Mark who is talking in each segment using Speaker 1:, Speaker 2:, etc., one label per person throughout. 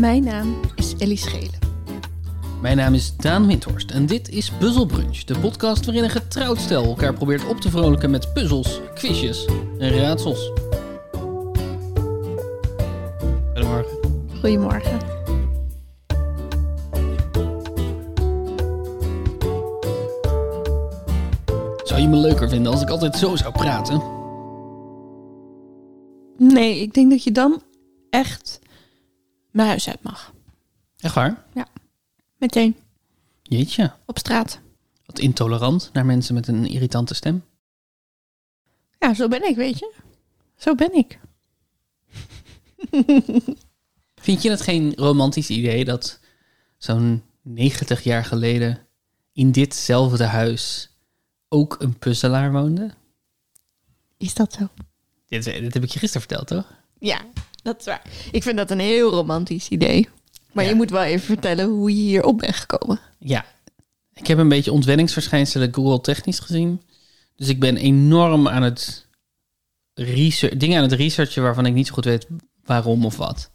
Speaker 1: Mijn naam is Ellie Schelen.
Speaker 2: Mijn naam is Daan Windhorst en dit is Puzzle Brunch, de podcast waarin een getrouwd stel elkaar probeert op te vrolijken met puzzels, quizjes en raadsels. Goedemorgen.
Speaker 1: Goedemorgen.
Speaker 2: Zou je me leuker vinden als ik altijd zo zou praten?
Speaker 1: Nee, ik denk dat je dan echt naar huis uit mag.
Speaker 2: Echt waar?
Speaker 1: Meteen.
Speaker 2: Jeetje.
Speaker 1: Op straat.
Speaker 2: Wat intolerant naar mensen met een irritante stem.
Speaker 1: Ja, zo ben ik, weet je. Zo ben ik.
Speaker 2: Vind je het geen romantisch idee dat zo'n 90 jaar geleden in ditzelfde huis ook een puzzelaar woonde?
Speaker 1: Is dat zo?
Speaker 2: Dit, dit heb ik je gisteren verteld, toch?
Speaker 1: Ja, dat is waar. Ik vind dat een heel romantisch idee. Maar
Speaker 2: Ja.
Speaker 1: je moet wel even vertellen hoe je hier op bent gekomen.
Speaker 2: Ja, ik heb een beetje ontwenningsverschijnselen Google technisch gezien. Dus ik ben enorm aan het research, dingen aan het researchen waarvan ik niet zo goed weet waarom of wat.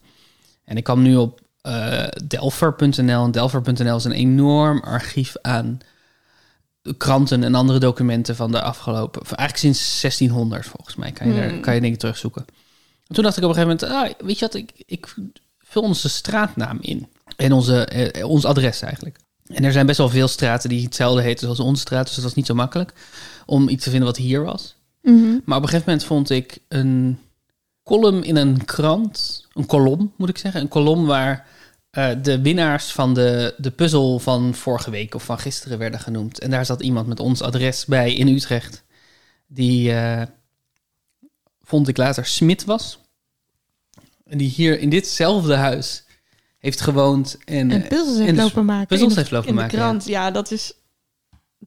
Speaker 2: En ik kwam nu op eh, Delver.nl. En Delver.nl is een enorm archief aan kranten en andere documenten van de afgelopen... of Eigenlijk sinds 1600 volgens mij kan je, daar,
Speaker 1: Hmm.
Speaker 2: kan je dingen terugzoeken. En toen dacht ik op een gegeven moment... Ah, weet je wat, ik, ik vul onze straatnaam in. En onze, eh, ons adres eigenlijk. En er zijn best wel veel straten die hetzelfde heten zoals onze straat. Dus dat was niet zo makkelijk om iets te vinden wat hier was.
Speaker 1: Mhm.
Speaker 2: Maar op een gegeven moment vond ik een column in een krant. Een kolom, moet ik zeggen. Een kolom waar eh, de winnaars van de, de puzzel van vorige week of van gisteren werden genoemd. En daar zat iemand met ons adres bij in Utrecht. Die eh, vond ik later Smit was. En die hier in ditzelfde huis heeft gewoond. En,
Speaker 1: En
Speaker 2: eh,
Speaker 1: puzzels
Speaker 2: en
Speaker 1: heeft
Speaker 2: dus
Speaker 1: lopen maken.
Speaker 2: puzzels
Speaker 1: in de-
Speaker 2: heeft lopen
Speaker 1: in
Speaker 2: maken,
Speaker 1: de
Speaker 2: ja.
Speaker 1: krant, ja. dat is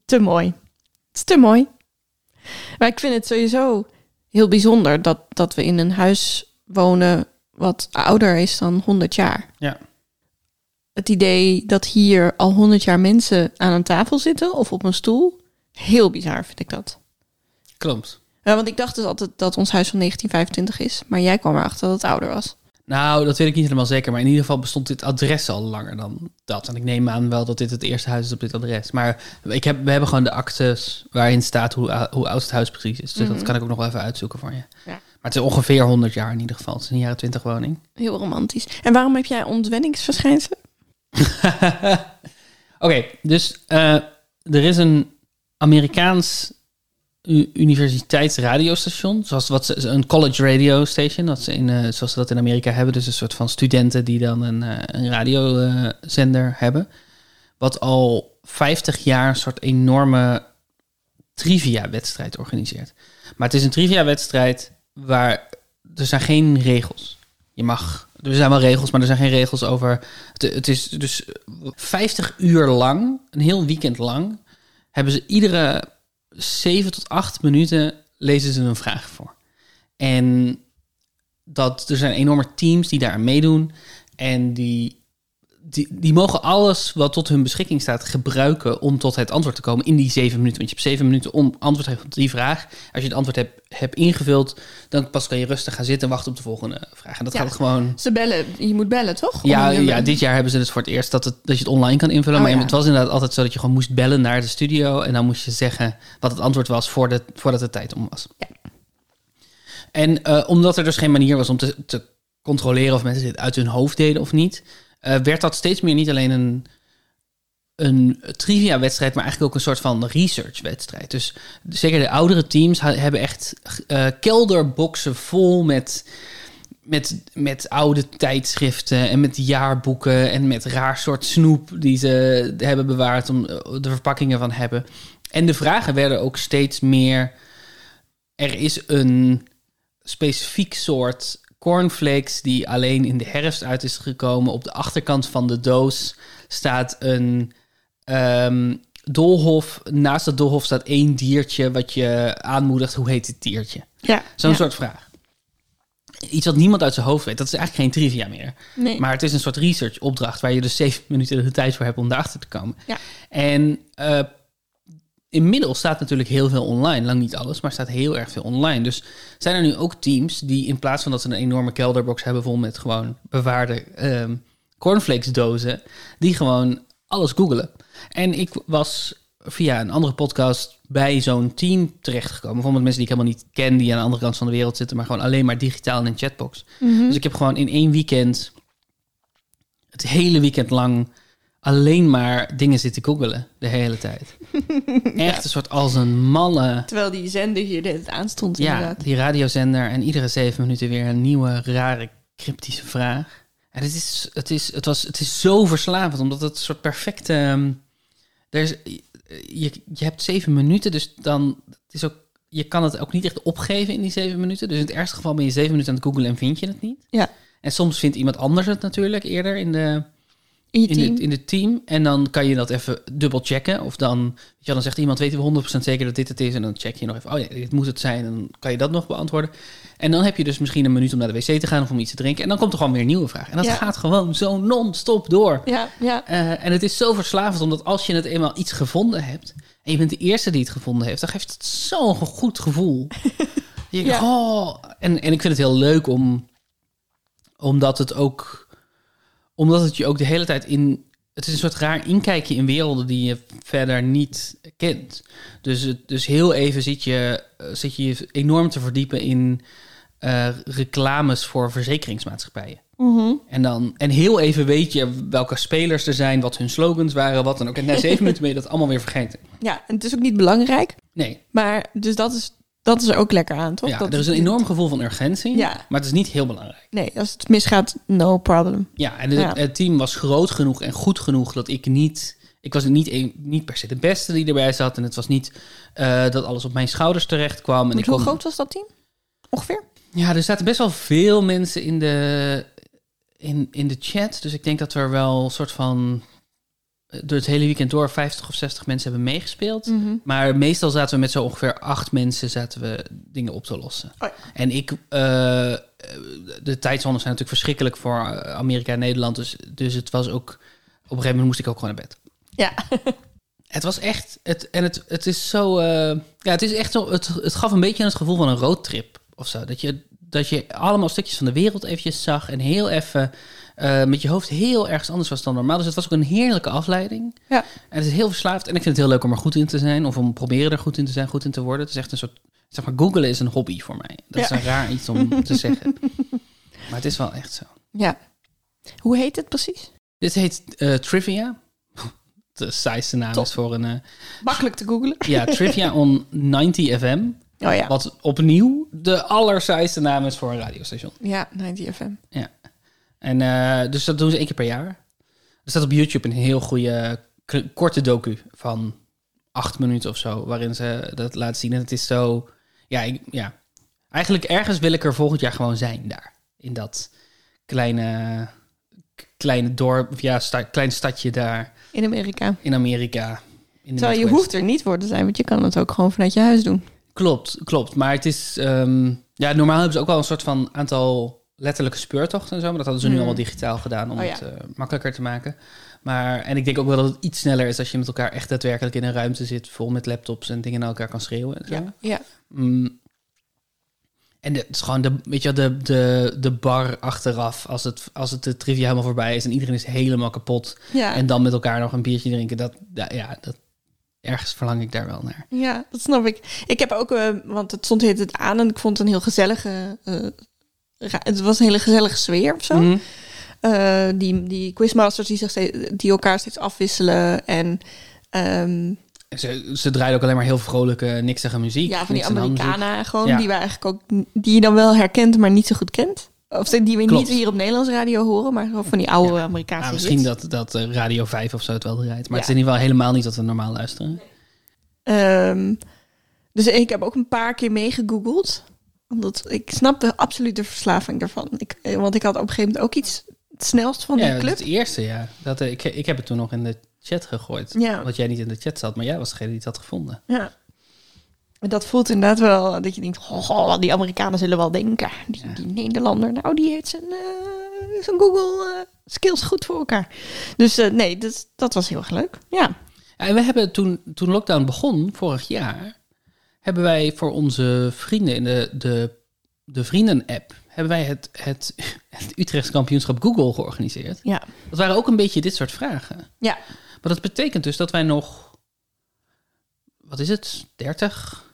Speaker 1: te mooi. Het is te mooi. Maar ik vind het sowieso heel bijzonder dat, dat we in een huis wonen wat ouder is dan 100 jaar.
Speaker 2: Ja.
Speaker 1: Het idee dat hier al 100 jaar mensen aan een tafel zitten of op een stoel, heel bizar vind ik dat.
Speaker 2: klopt.
Speaker 1: Ja, want ik dacht dus altijd dat ons huis van 1925 is, maar jij kwam erachter dat het ouder was.
Speaker 2: Nou, dat weet ik niet helemaal zeker. Maar in ieder geval bestond dit adres al langer dan dat. En ik neem aan wel dat dit het eerste huis is op dit adres. Maar ik heb, we hebben gewoon de actes waarin staat hoe, ou- hoe oud het huis precies is. Dus dat kan ik ook nog wel even uitzoeken voor je.
Speaker 1: Ja.
Speaker 2: Maar het is ongeveer 100 jaar in ieder geval. Het is een jaren 20 woning.
Speaker 1: Heel romantisch. En waarom heb jij ontwenningsverschijnselen?
Speaker 2: Oké, dus eh, er is een Amerikaans u- universiteitsradiostation, zoals wat ze, een college radio station, dat ze in, eh, zoals ze dat in Amerika hebben, dus een soort van studenten die dan een, eh, een radiozender hebben, wat al 50 jaar een soort enorme trivia-wedstrijd organiseert. Maar het is een trivia-wedstrijd waar er zijn geen regels. Je mag, er zijn wel regels, maar er zijn geen regels over het, het is dus 50 uur lang, een heel weekend lang, hebben ze iedere 7 tot 8 minuten lezen ze een vraag voor. En dat, er zijn enorme teams die daar aan meedoen. En die, die, die mogen alles wat tot hun beschikking staat gebruiken om tot het antwoord te komen in die 7 minuten. Want je hebt 7 minuten om antwoord te geven op die vraag. Als je het antwoord hebt, hebt ingevuld, dan pas kan je rustig gaan zitten en wachten op de volgende vraag. En dat
Speaker 1: Ja.
Speaker 2: gaat gewoon
Speaker 1: Ze bellen, je moet bellen toch?
Speaker 2: ja,
Speaker 1: Om een
Speaker 2: ja,
Speaker 1: nummer.
Speaker 2: dit jaar hebben ze dus voor het eerst dat, het, dat je het online kan invullen.
Speaker 1: Oh,
Speaker 2: maar
Speaker 1: ja.
Speaker 2: het was inderdaad altijd zo dat je gewoon moest bellen naar de studio. En dan moest je zeggen wat het antwoord was voordat, voordat de tijd om was.
Speaker 1: Ja.
Speaker 2: En eh, omdat er dus geen manier was om te, te controleren of mensen dit uit hun hoofd deden of niet, eh, werd dat steeds meer niet alleen een, een trivia-wedstrijd, maar eigenlijk ook een soort van research-wedstrijd. Dus zeker de oudere teams ha- hebben echt eh, kelderboxen vol met met, met oude tijdschriften en met jaarboeken en met raar soort snoep die ze hebben bewaard om eh, de verpakkingen van hebben. En de vragen werden ook steeds meer. Er is een specifiek soort cornflakes die alleen in de herfst uit is gekomen. Op de achterkant van de doos staat een ehm, doolhof. Naast dat doolhof staat één diertje wat je aanmoedigt. Hoe heet dit diertje?
Speaker 1: Ja,
Speaker 2: Zo'n
Speaker 1: ja.
Speaker 2: soort vraag. Iets wat niemand uit zijn hoofd weet. Dat is eigenlijk geen trivia meer.
Speaker 1: Nee.
Speaker 2: Maar het is een soort research opdracht waar je dus zeven minuten de tijd voor hebt om daarachter te komen.
Speaker 1: Ja.
Speaker 2: En eh, inmiddels staat natuurlijk heel veel online. Lang niet alles, maar staat heel erg veel online. Dus zijn er nu ook teams die in plaats van dat ze een enorme kelderbox hebben vol met gewoon bewaarde ehm, cornflakesdozen die gewoon alles googelen. En ik was via een andere podcast bij zo'n team terechtgekomen. Bijvoorbeeld mensen die ik helemaal niet ken, die aan de andere kant van de wereld zitten, maar gewoon alleen maar digitaal in een chatbox. Dus ik heb gewoon in één weekend, het hele weekend lang, alleen maar dingen zitten googelen de hele tijd. Echt een soort als een malle.
Speaker 1: Terwijl die zender hier de hele tijd aanstond
Speaker 2: Ja,
Speaker 1: inderdaad.
Speaker 2: die radiozender en iedere zeven minuten weer een nieuwe, rare, cryptische vraag. En het is, het is, het was, het is zo verslavend, omdat het een soort perfecte... ehm, er is, je, je hebt zeven minuten, dus dan het is ook, je kan het ook niet echt opgeven in die zeven minuten. Dus in het ergste geval ben je zeven minuten aan het googlen en vind je het niet.
Speaker 1: Ja.
Speaker 2: En soms vindt iemand anders het natuurlijk eerder in de
Speaker 1: In je
Speaker 2: in
Speaker 1: team.
Speaker 2: het, in het team. En dan kan je dat even dubbel checken. Of dan, weet je, wel, dan zegt iemand, weten we 100% zeker dat dit het is. En dan check je nog even, oh ja, dit moet het zijn. En dan kan je dat nog beantwoorden. En dan heb je dus misschien een minuut om naar de wc te gaan of om iets te drinken. En dan komt er gewoon weer een nieuwe vraag. En dat
Speaker 1: Ja.
Speaker 2: gaat gewoon zo non-stop door.
Speaker 1: Ja, ja.
Speaker 2: Eh, en het is zo verslavend, omdat als je het eenmaal iets gevonden hebt... en je bent de eerste die het gevonden heeft... dan geeft het zo'n goed gevoel. je denkt,
Speaker 1: Ja.
Speaker 2: oh, en, en ik vind het heel leuk om... omdat het ook... omdat het je ook de hele tijd in... het is een soort raar inkijkje in werelden die je verder niet kent. Dus, het- dus heel even zit je, eh, zit je je enorm te verdiepen in... eh, reclames voor verzekeringsmaatschappijen.
Speaker 1: Mhm.
Speaker 2: En, dan, en heel even weet je welke spelers er zijn, wat hun slogans waren, wat dan ook. En na zeven minuten ben je dat allemaal weer vergeten.
Speaker 1: ja, en het is ook niet belangrijk.
Speaker 2: Nee,
Speaker 1: Maar dus dat is, dat is er ook lekker aan, toch?
Speaker 2: ja,
Speaker 1: dat
Speaker 2: er is een enorm gevoel van urgentie,
Speaker 1: Ja.
Speaker 2: maar het is niet heel belangrijk.
Speaker 1: Nee, als het misgaat, no problem.
Speaker 2: Ja, en het,
Speaker 1: Ja.
Speaker 2: het team was groot genoeg en goed genoeg dat ik niet... Ik was niet, een- niet per se de beste die erbij zat. En het was niet eh, dat alles op mijn schouders terecht kwam. En
Speaker 1: Maar
Speaker 2: ik
Speaker 1: hoe
Speaker 2: kon-
Speaker 1: groot was dat team? Ongeveer?
Speaker 2: Ja, er zaten best wel veel mensen in de, in, in de chat. Dus ik denk dat er wel een soort van... eh, Door het hele weekend door 50 of 60 mensen hebben meegespeeld.
Speaker 1: Mhm.
Speaker 2: Maar meestal zaten we met zo ongeveer acht mensen zaten we dingen op te lossen.
Speaker 1: Oh
Speaker 2: En ik, eh, eh, de tijdzones zijn natuurlijk verschrikkelijk voor eh, Amerika en Nederland. Dus, dus het was ook, op een gegeven moment moest ik ook gewoon naar bed.
Speaker 1: Ja.
Speaker 2: Het was echt, het, en het, het is zo, eh, ja, het is echt zo, het, het gaf een beetje het gevoel van een roadtrip of zo. Dat je, dat je allemaal stukjes van de wereld eventjes zag en heel even eh, met je hoofd heel ergens anders was dan normaal. Dus het was ook een heerlijke afleiding.
Speaker 1: Ja.
Speaker 2: En het is heel verslaafd. En ik vind het heel leuk om er goed in te zijn. Of om proberen er goed in te zijn, goed in te worden. Het is echt een soort... Zeg maar, googlen is een hobby voor mij. Dat is
Speaker 1: Ja.
Speaker 2: een raar iets om te zeggen. Maar het is wel echt zo.
Speaker 1: Ja. Hoe heet het precies?
Speaker 2: Dit heet eh, Trivia. De saaiste naam
Speaker 1: Top.
Speaker 2: is voor een... eh,
Speaker 1: Makkelijk te googlen.
Speaker 2: ja, Trivia on 90 FM.
Speaker 1: Oh ja.
Speaker 2: Wat opnieuw de allersaaiste naam is voor een radiostation.
Speaker 1: Ja, 90 FM.
Speaker 2: En eh, dus dat doen ze één keer per jaar. Er staat op YouTube een heel goede k- korte docu van acht minuten of zo, waarin ze dat laten zien. En het is zo, ja, ik, ja. Eigenlijk ergens wil ik er volgend jaar gewoon zijn daar. In dat kleine, k- kleine dorp, of ja, sta, klein stadje daar
Speaker 1: In Amerika.
Speaker 2: in Amerika. In de
Speaker 1: Terwijl je
Speaker 2: Midwest.
Speaker 1: hoeft er niet voor te zijn, want je kan het ook gewoon vanuit je huis doen.
Speaker 2: Klopt, klopt. Maar het is. ehm, ja, normaal hebben ze ook wel een soort van aantal letterlijke speurtochten en zo. Maar dat hadden ze nu
Speaker 1: Hmm.
Speaker 2: allemaal digitaal gedaan om
Speaker 1: Oh ja.
Speaker 2: het eh, makkelijker te maken. Maar, en ik denk ook wel dat het iets sneller is als je met elkaar echt daadwerkelijk in een ruimte zit. Vol met laptops en dingen naar elkaar kan schreeuwen. En zo.
Speaker 1: Ja. ja.
Speaker 2: Mm. En de- het is gewoon de, weet je, wel, de, de, de bar achteraf. Als het, als het de trivia helemaal voorbij is en iedereen is helemaal kapot.
Speaker 1: Ja.
Speaker 2: En dan met elkaar nog een biertje drinken. Dat, ja, ja, dat, ergens verlang ik daar wel naar.
Speaker 1: Ja, dat snap ik. Ik heb ook, eh, want het stond heet het aan en ik vond het een heel gezellige. eh, ra- het was een hele gezellige sfeer of zo.
Speaker 2: Mhm.
Speaker 1: Eh, die, die quizmasters die, zich steeds, die elkaar steeds afwisselen. En ehm,
Speaker 2: Ze, ze draaiden ook alleen maar heel vrolijke, niksige muziek.
Speaker 1: ja, van die
Speaker 2: Niks aan de hand muziek.
Speaker 1: Amerikanen gewoon,
Speaker 2: Ja.
Speaker 1: die we eigenlijk ook die je dan wel herkent, maar niet zo goed kent. Of die we
Speaker 2: Klopt.
Speaker 1: niet hier op Nederlands radio horen, maar gewoon van die oude Amerikaanse.
Speaker 2: Ah, misschien
Speaker 1: hits.
Speaker 2: dat, dat eh, Radio 5 of zo het wel draait. Maar
Speaker 1: Ja.
Speaker 2: het is in ieder geval helemaal niet wat we normaal luisteren.
Speaker 1: Ehm, dus ik heb ook een paar keer meegegoogeld. Omdat ik snapte absoluut de verslaving daarvan. Ik, eh, want ik had op een gegeven moment ook iets het snelst van
Speaker 2: ja,
Speaker 1: die
Speaker 2: dat
Speaker 1: club.
Speaker 2: is het eerste, ja. Dat, eh, ik, ik heb het toen nog in de chat gegooid.
Speaker 1: Ja.
Speaker 2: Omdat jij niet in de chat zat, maar jij was degene die het had gevonden.
Speaker 1: Ja. En dat voelt inderdaad wel dat je denkt, oh, die Amerikanen zullen wel denken. Die, die Nederlander, nou die heeft zijn, eh, zijn Google eh, skills goed voor elkaar. Dus eh, nee, dat, dat was heel erg leuk. Ja.
Speaker 2: Ja, en we hebben toen, toen lockdown begon, vorig jaar, hebben wij voor onze vrienden in de, de, de vrienden-app hebben wij het, het, het Utrechts kampioenschap Google georganiseerd.
Speaker 1: Ja.
Speaker 2: Dat waren ook een beetje dit soort vragen.
Speaker 1: Ja.
Speaker 2: Maar dat betekent dus dat wij nog, wat is het, 30?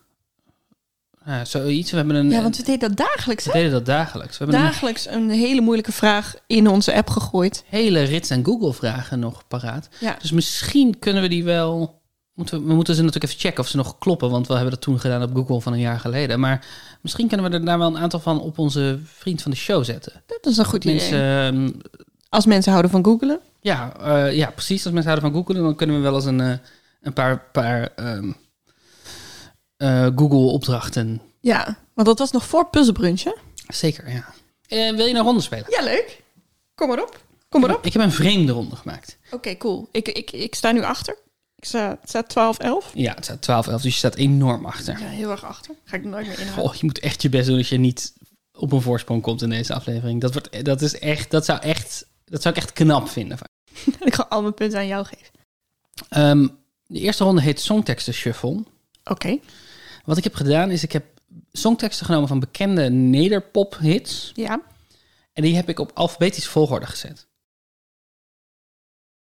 Speaker 2: Nou, zoiets. We hebben een.
Speaker 1: ja, want we deden dat dagelijks.
Speaker 2: we
Speaker 1: Hè?
Speaker 2: deden dat dagelijks. We hebben een
Speaker 1: Dagelijks een hele moeilijke vraag in onze app gegooid.
Speaker 2: hele rits aan Google-vragen nog paraat.
Speaker 1: Ja.
Speaker 2: Dus misschien kunnen we die wel. Moeten we, we moeten ze natuurlijk even checken of ze nog kloppen. Want we hebben dat toen gedaan op Google van een jaar geleden. Maar misschien kunnen we er daar wel een aantal van op onze vriend van de show zetten.
Speaker 1: Dat is een goed
Speaker 2: Mensen,
Speaker 1: idee.
Speaker 2: ehm,
Speaker 1: Als mensen houden van googelen.
Speaker 2: ja, eh, ja, precies. Als mensen houden van Google, dan kunnen we wel eens een, eh, een paar, paar ehm, eh, Google-opdrachten.
Speaker 1: Ja, want dat was nog voor puzzelbrunch, hè?
Speaker 2: Zeker, ja. Eh, wil je een ronde spelen?
Speaker 1: Ja, leuk. Kom maar op. Kom maar op.
Speaker 2: Ik heb een vreemde ronde gemaakt.
Speaker 1: Oké, cool. Ik, ik, ik sta nu achter. Ik sta, het staat 12, 11.
Speaker 2: Ja, het staat 12, 11, dus je staat enorm achter.
Speaker 1: Ja, heel erg achter. Ga ik nooit meer inhalen.
Speaker 2: Goh, Oh, je moet echt je best doen als je niet op een voorsprong komt in deze aflevering. Dat, wordt, dat, is echt, dat, zou, echt, dat zou ik echt knap vinden.
Speaker 1: Ik ga al mijn punten aan jou geven.
Speaker 2: Ehm, de eerste ronde heet Songteksten Shuffle.
Speaker 1: Oké.
Speaker 2: Wat ik heb gedaan is, ik heb songteksten genomen van bekende nederpop-hits.
Speaker 1: Ja.
Speaker 2: En die heb ik op alfabetische volgorde gezet.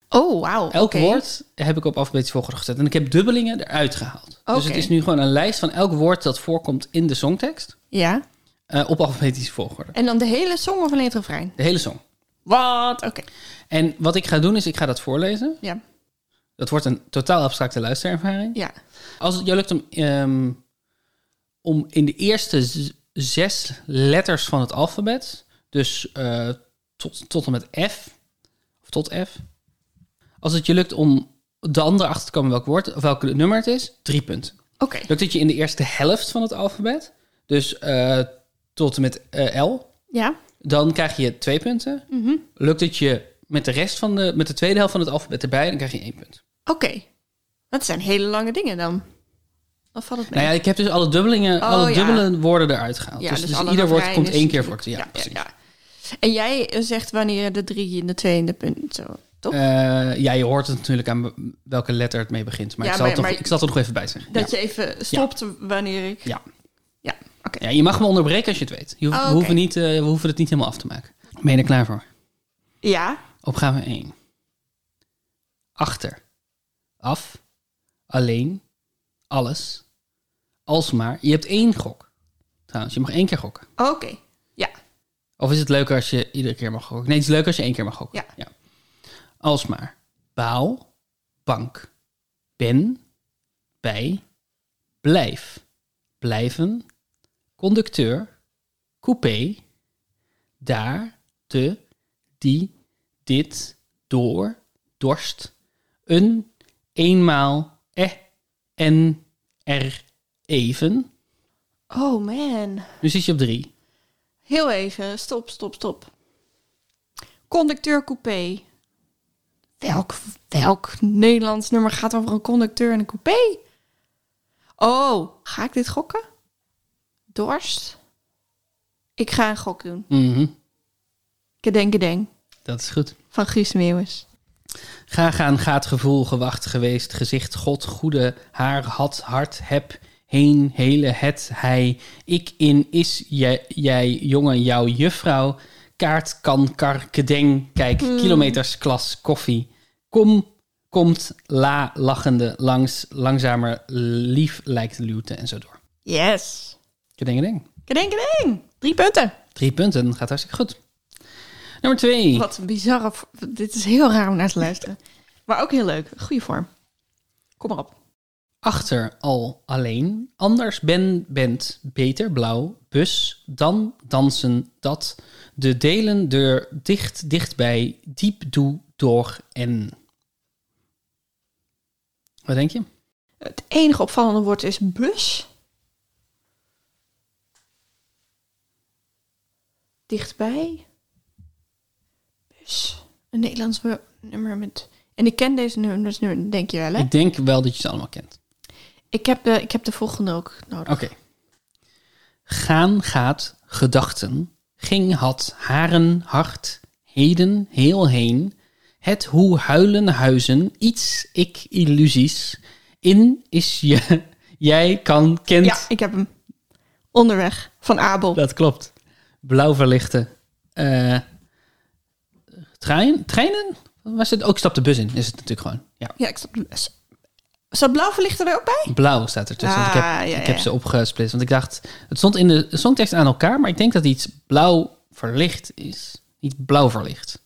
Speaker 1: Oh, wauw.
Speaker 2: Elk
Speaker 1: oké.
Speaker 2: woord heb ik op alfabetische volgorde gezet. En ik heb dubbelingen eruit gehaald. Dus
Speaker 1: Oké.
Speaker 2: het is nu gewoon een lijst van elk woord dat voorkomt in de songtekst.
Speaker 1: Ja.
Speaker 2: eh, op alfabetische volgorde.
Speaker 1: En dan de hele song of alleen het refrein?
Speaker 2: De hele song.
Speaker 1: Wat? Oké.
Speaker 2: En wat ik ga doen is, ik ga dat voorlezen.
Speaker 1: Ja.
Speaker 2: Dat wordt een totaal abstracte luisterervaring.
Speaker 1: Ja.
Speaker 2: Als het jou lukt om, ehm, om in de eerste z- zes letters van het alfabet, dus eh, tot, tot en met F, of tot F, als het je lukt om de andere achter te komen welk woord, of welk nummer het is, drie punten.
Speaker 1: Oké.
Speaker 2: Lukt het je in de eerste helft van het alfabet, dus eh, tot en met eh, L,
Speaker 1: Ja.
Speaker 2: dan krijg je twee punten.
Speaker 1: Mhm.
Speaker 2: Lukt het je met de rest van de, met de tweede helft van het alfabet erbij, dan krijg je één punt.
Speaker 1: Oké. Dat zijn hele lange dingen dan. Of valt het mee?
Speaker 2: Nou ja, ik heb dus alle dubbelingen,
Speaker 1: Oh,
Speaker 2: alle
Speaker 1: ja.
Speaker 2: dubbele woorden eruit gehaald.
Speaker 1: Ja,
Speaker 2: dus dus
Speaker 1: alle
Speaker 2: ieder woord
Speaker 1: refrein
Speaker 2: komt
Speaker 1: is
Speaker 2: één keer voor.
Speaker 1: natuurlijk-
Speaker 2: Ja, precies.
Speaker 1: ja. En jij eh, zegt wanneer de drie en de twee en de punt zo, toch?
Speaker 2: Eh, ja, je hoort het natuurlijk aan be- welke letter het mee begint. Maar,
Speaker 1: Ja,
Speaker 2: ik, zal
Speaker 1: maar-
Speaker 2: het toch,
Speaker 1: maar-
Speaker 2: ik zal het er nog even bij zeggen.
Speaker 1: dat
Speaker 2: ja.
Speaker 1: je even stopt wanneer ik...
Speaker 2: Ja.
Speaker 1: Ja, oké.
Speaker 2: Ja, je mag me onderbreken als je het weet. Je hoeft-
Speaker 1: Oh,
Speaker 2: we,
Speaker 1: oké.
Speaker 2: hoeven niet, eh, we hoeven het niet helemaal af te maken. Ben je er klaar voor?
Speaker 1: Ja,
Speaker 2: Opgave 1. Achter. Af. Alleen. Alles. Alsmaar. Je hebt één gok. Trouwens, je mag één keer gokken.
Speaker 1: oké. Ja,
Speaker 2: Of is het leuker als je iedere keer mag gokken? Nee, het is leuker als je één keer mag gokken.
Speaker 1: Ja.
Speaker 2: Alsmaar. Baal. Bank. Ben. Bij. Blijf. Blijven. Conducteur. Coupé. Daar. De. Die. Dit. Door. Dorst. Een. Eenmaal. Eh. En. Er. Even.
Speaker 1: oh man.
Speaker 2: Nu zit je op drie.
Speaker 1: Heel even, stop, stop, stop. Conducteur coupé. Welk, welk Nederlands nummer gaat over een conducteur en een coupé? Oh, ga ik dit gokken? Dorst? Ik ga een gok doen.
Speaker 2: Mhm,
Speaker 1: Kedeng, kedeng.
Speaker 2: Dat is goed.
Speaker 1: Van Guus Meeuwis.
Speaker 2: Ga gaan, gaat, gevoel, gewacht, geweest, gezicht, god, goede, haar, had, hart, heb, heen, hele, het, hij, ik, in, is, jij, jij jongen, jouw juffrouw, kaart, kan, kar, kedeng, kijk, kilometers, klas, koffie, kom, komt, la, lachende, langs, langzamer, lief, lijkt, luwte en zo door.
Speaker 1: Yes.
Speaker 2: Kedeng, kedeng.
Speaker 1: Kedeng, kedeng. Drie punten.
Speaker 2: Drie punten, gaat hartstikke goed. Nummer twee.
Speaker 1: Wat een bizarre... v- Dit is heel raar om naar te luisteren. Maar ook heel leuk. Goede vorm. Kom maar op.
Speaker 2: Achter al alleen. Anders ben, bent, beter, blauw, bus, dan, dansen, dat. De delen, deur, dicht, dichtbij, diep, doe, door en. Wat denk je?
Speaker 1: Het enige opvallende woord is bus. Dichtbij. Bus. Een Nederlands wo- nummer met... En ik ken deze nummers nu, denk je wel, hè?
Speaker 2: Ik denk wel dat je ze allemaal kent.
Speaker 1: Ik heb de, ik heb de volgende ook nodig.
Speaker 2: Oké. Gaan, gaat, gedachten. Ging, had, haren, hart. Heden, heel heen. Het hoe huilen, huizen. Iets, ik, illusies. In is je. Jij kan, kent.
Speaker 1: Ja, ik heb hem. Onderweg. Van Abel.
Speaker 2: Dat klopt. blauw verlichte eh, trein, treinen. Was het? Ook stap de bus in, is het natuurlijk gewoon. Ja,
Speaker 1: Ja, ik stap... Staat blauw verlicht er ook bij?
Speaker 2: blauw staat ertussen. want ik heb,
Speaker 1: Ah, ja,
Speaker 2: ik heb
Speaker 1: ja.
Speaker 2: ze opgesplitst. Want ik dacht, het stond in de songtekst aan elkaar, maar ik denk dat iets blauw verlicht is. Niet blauw verlicht.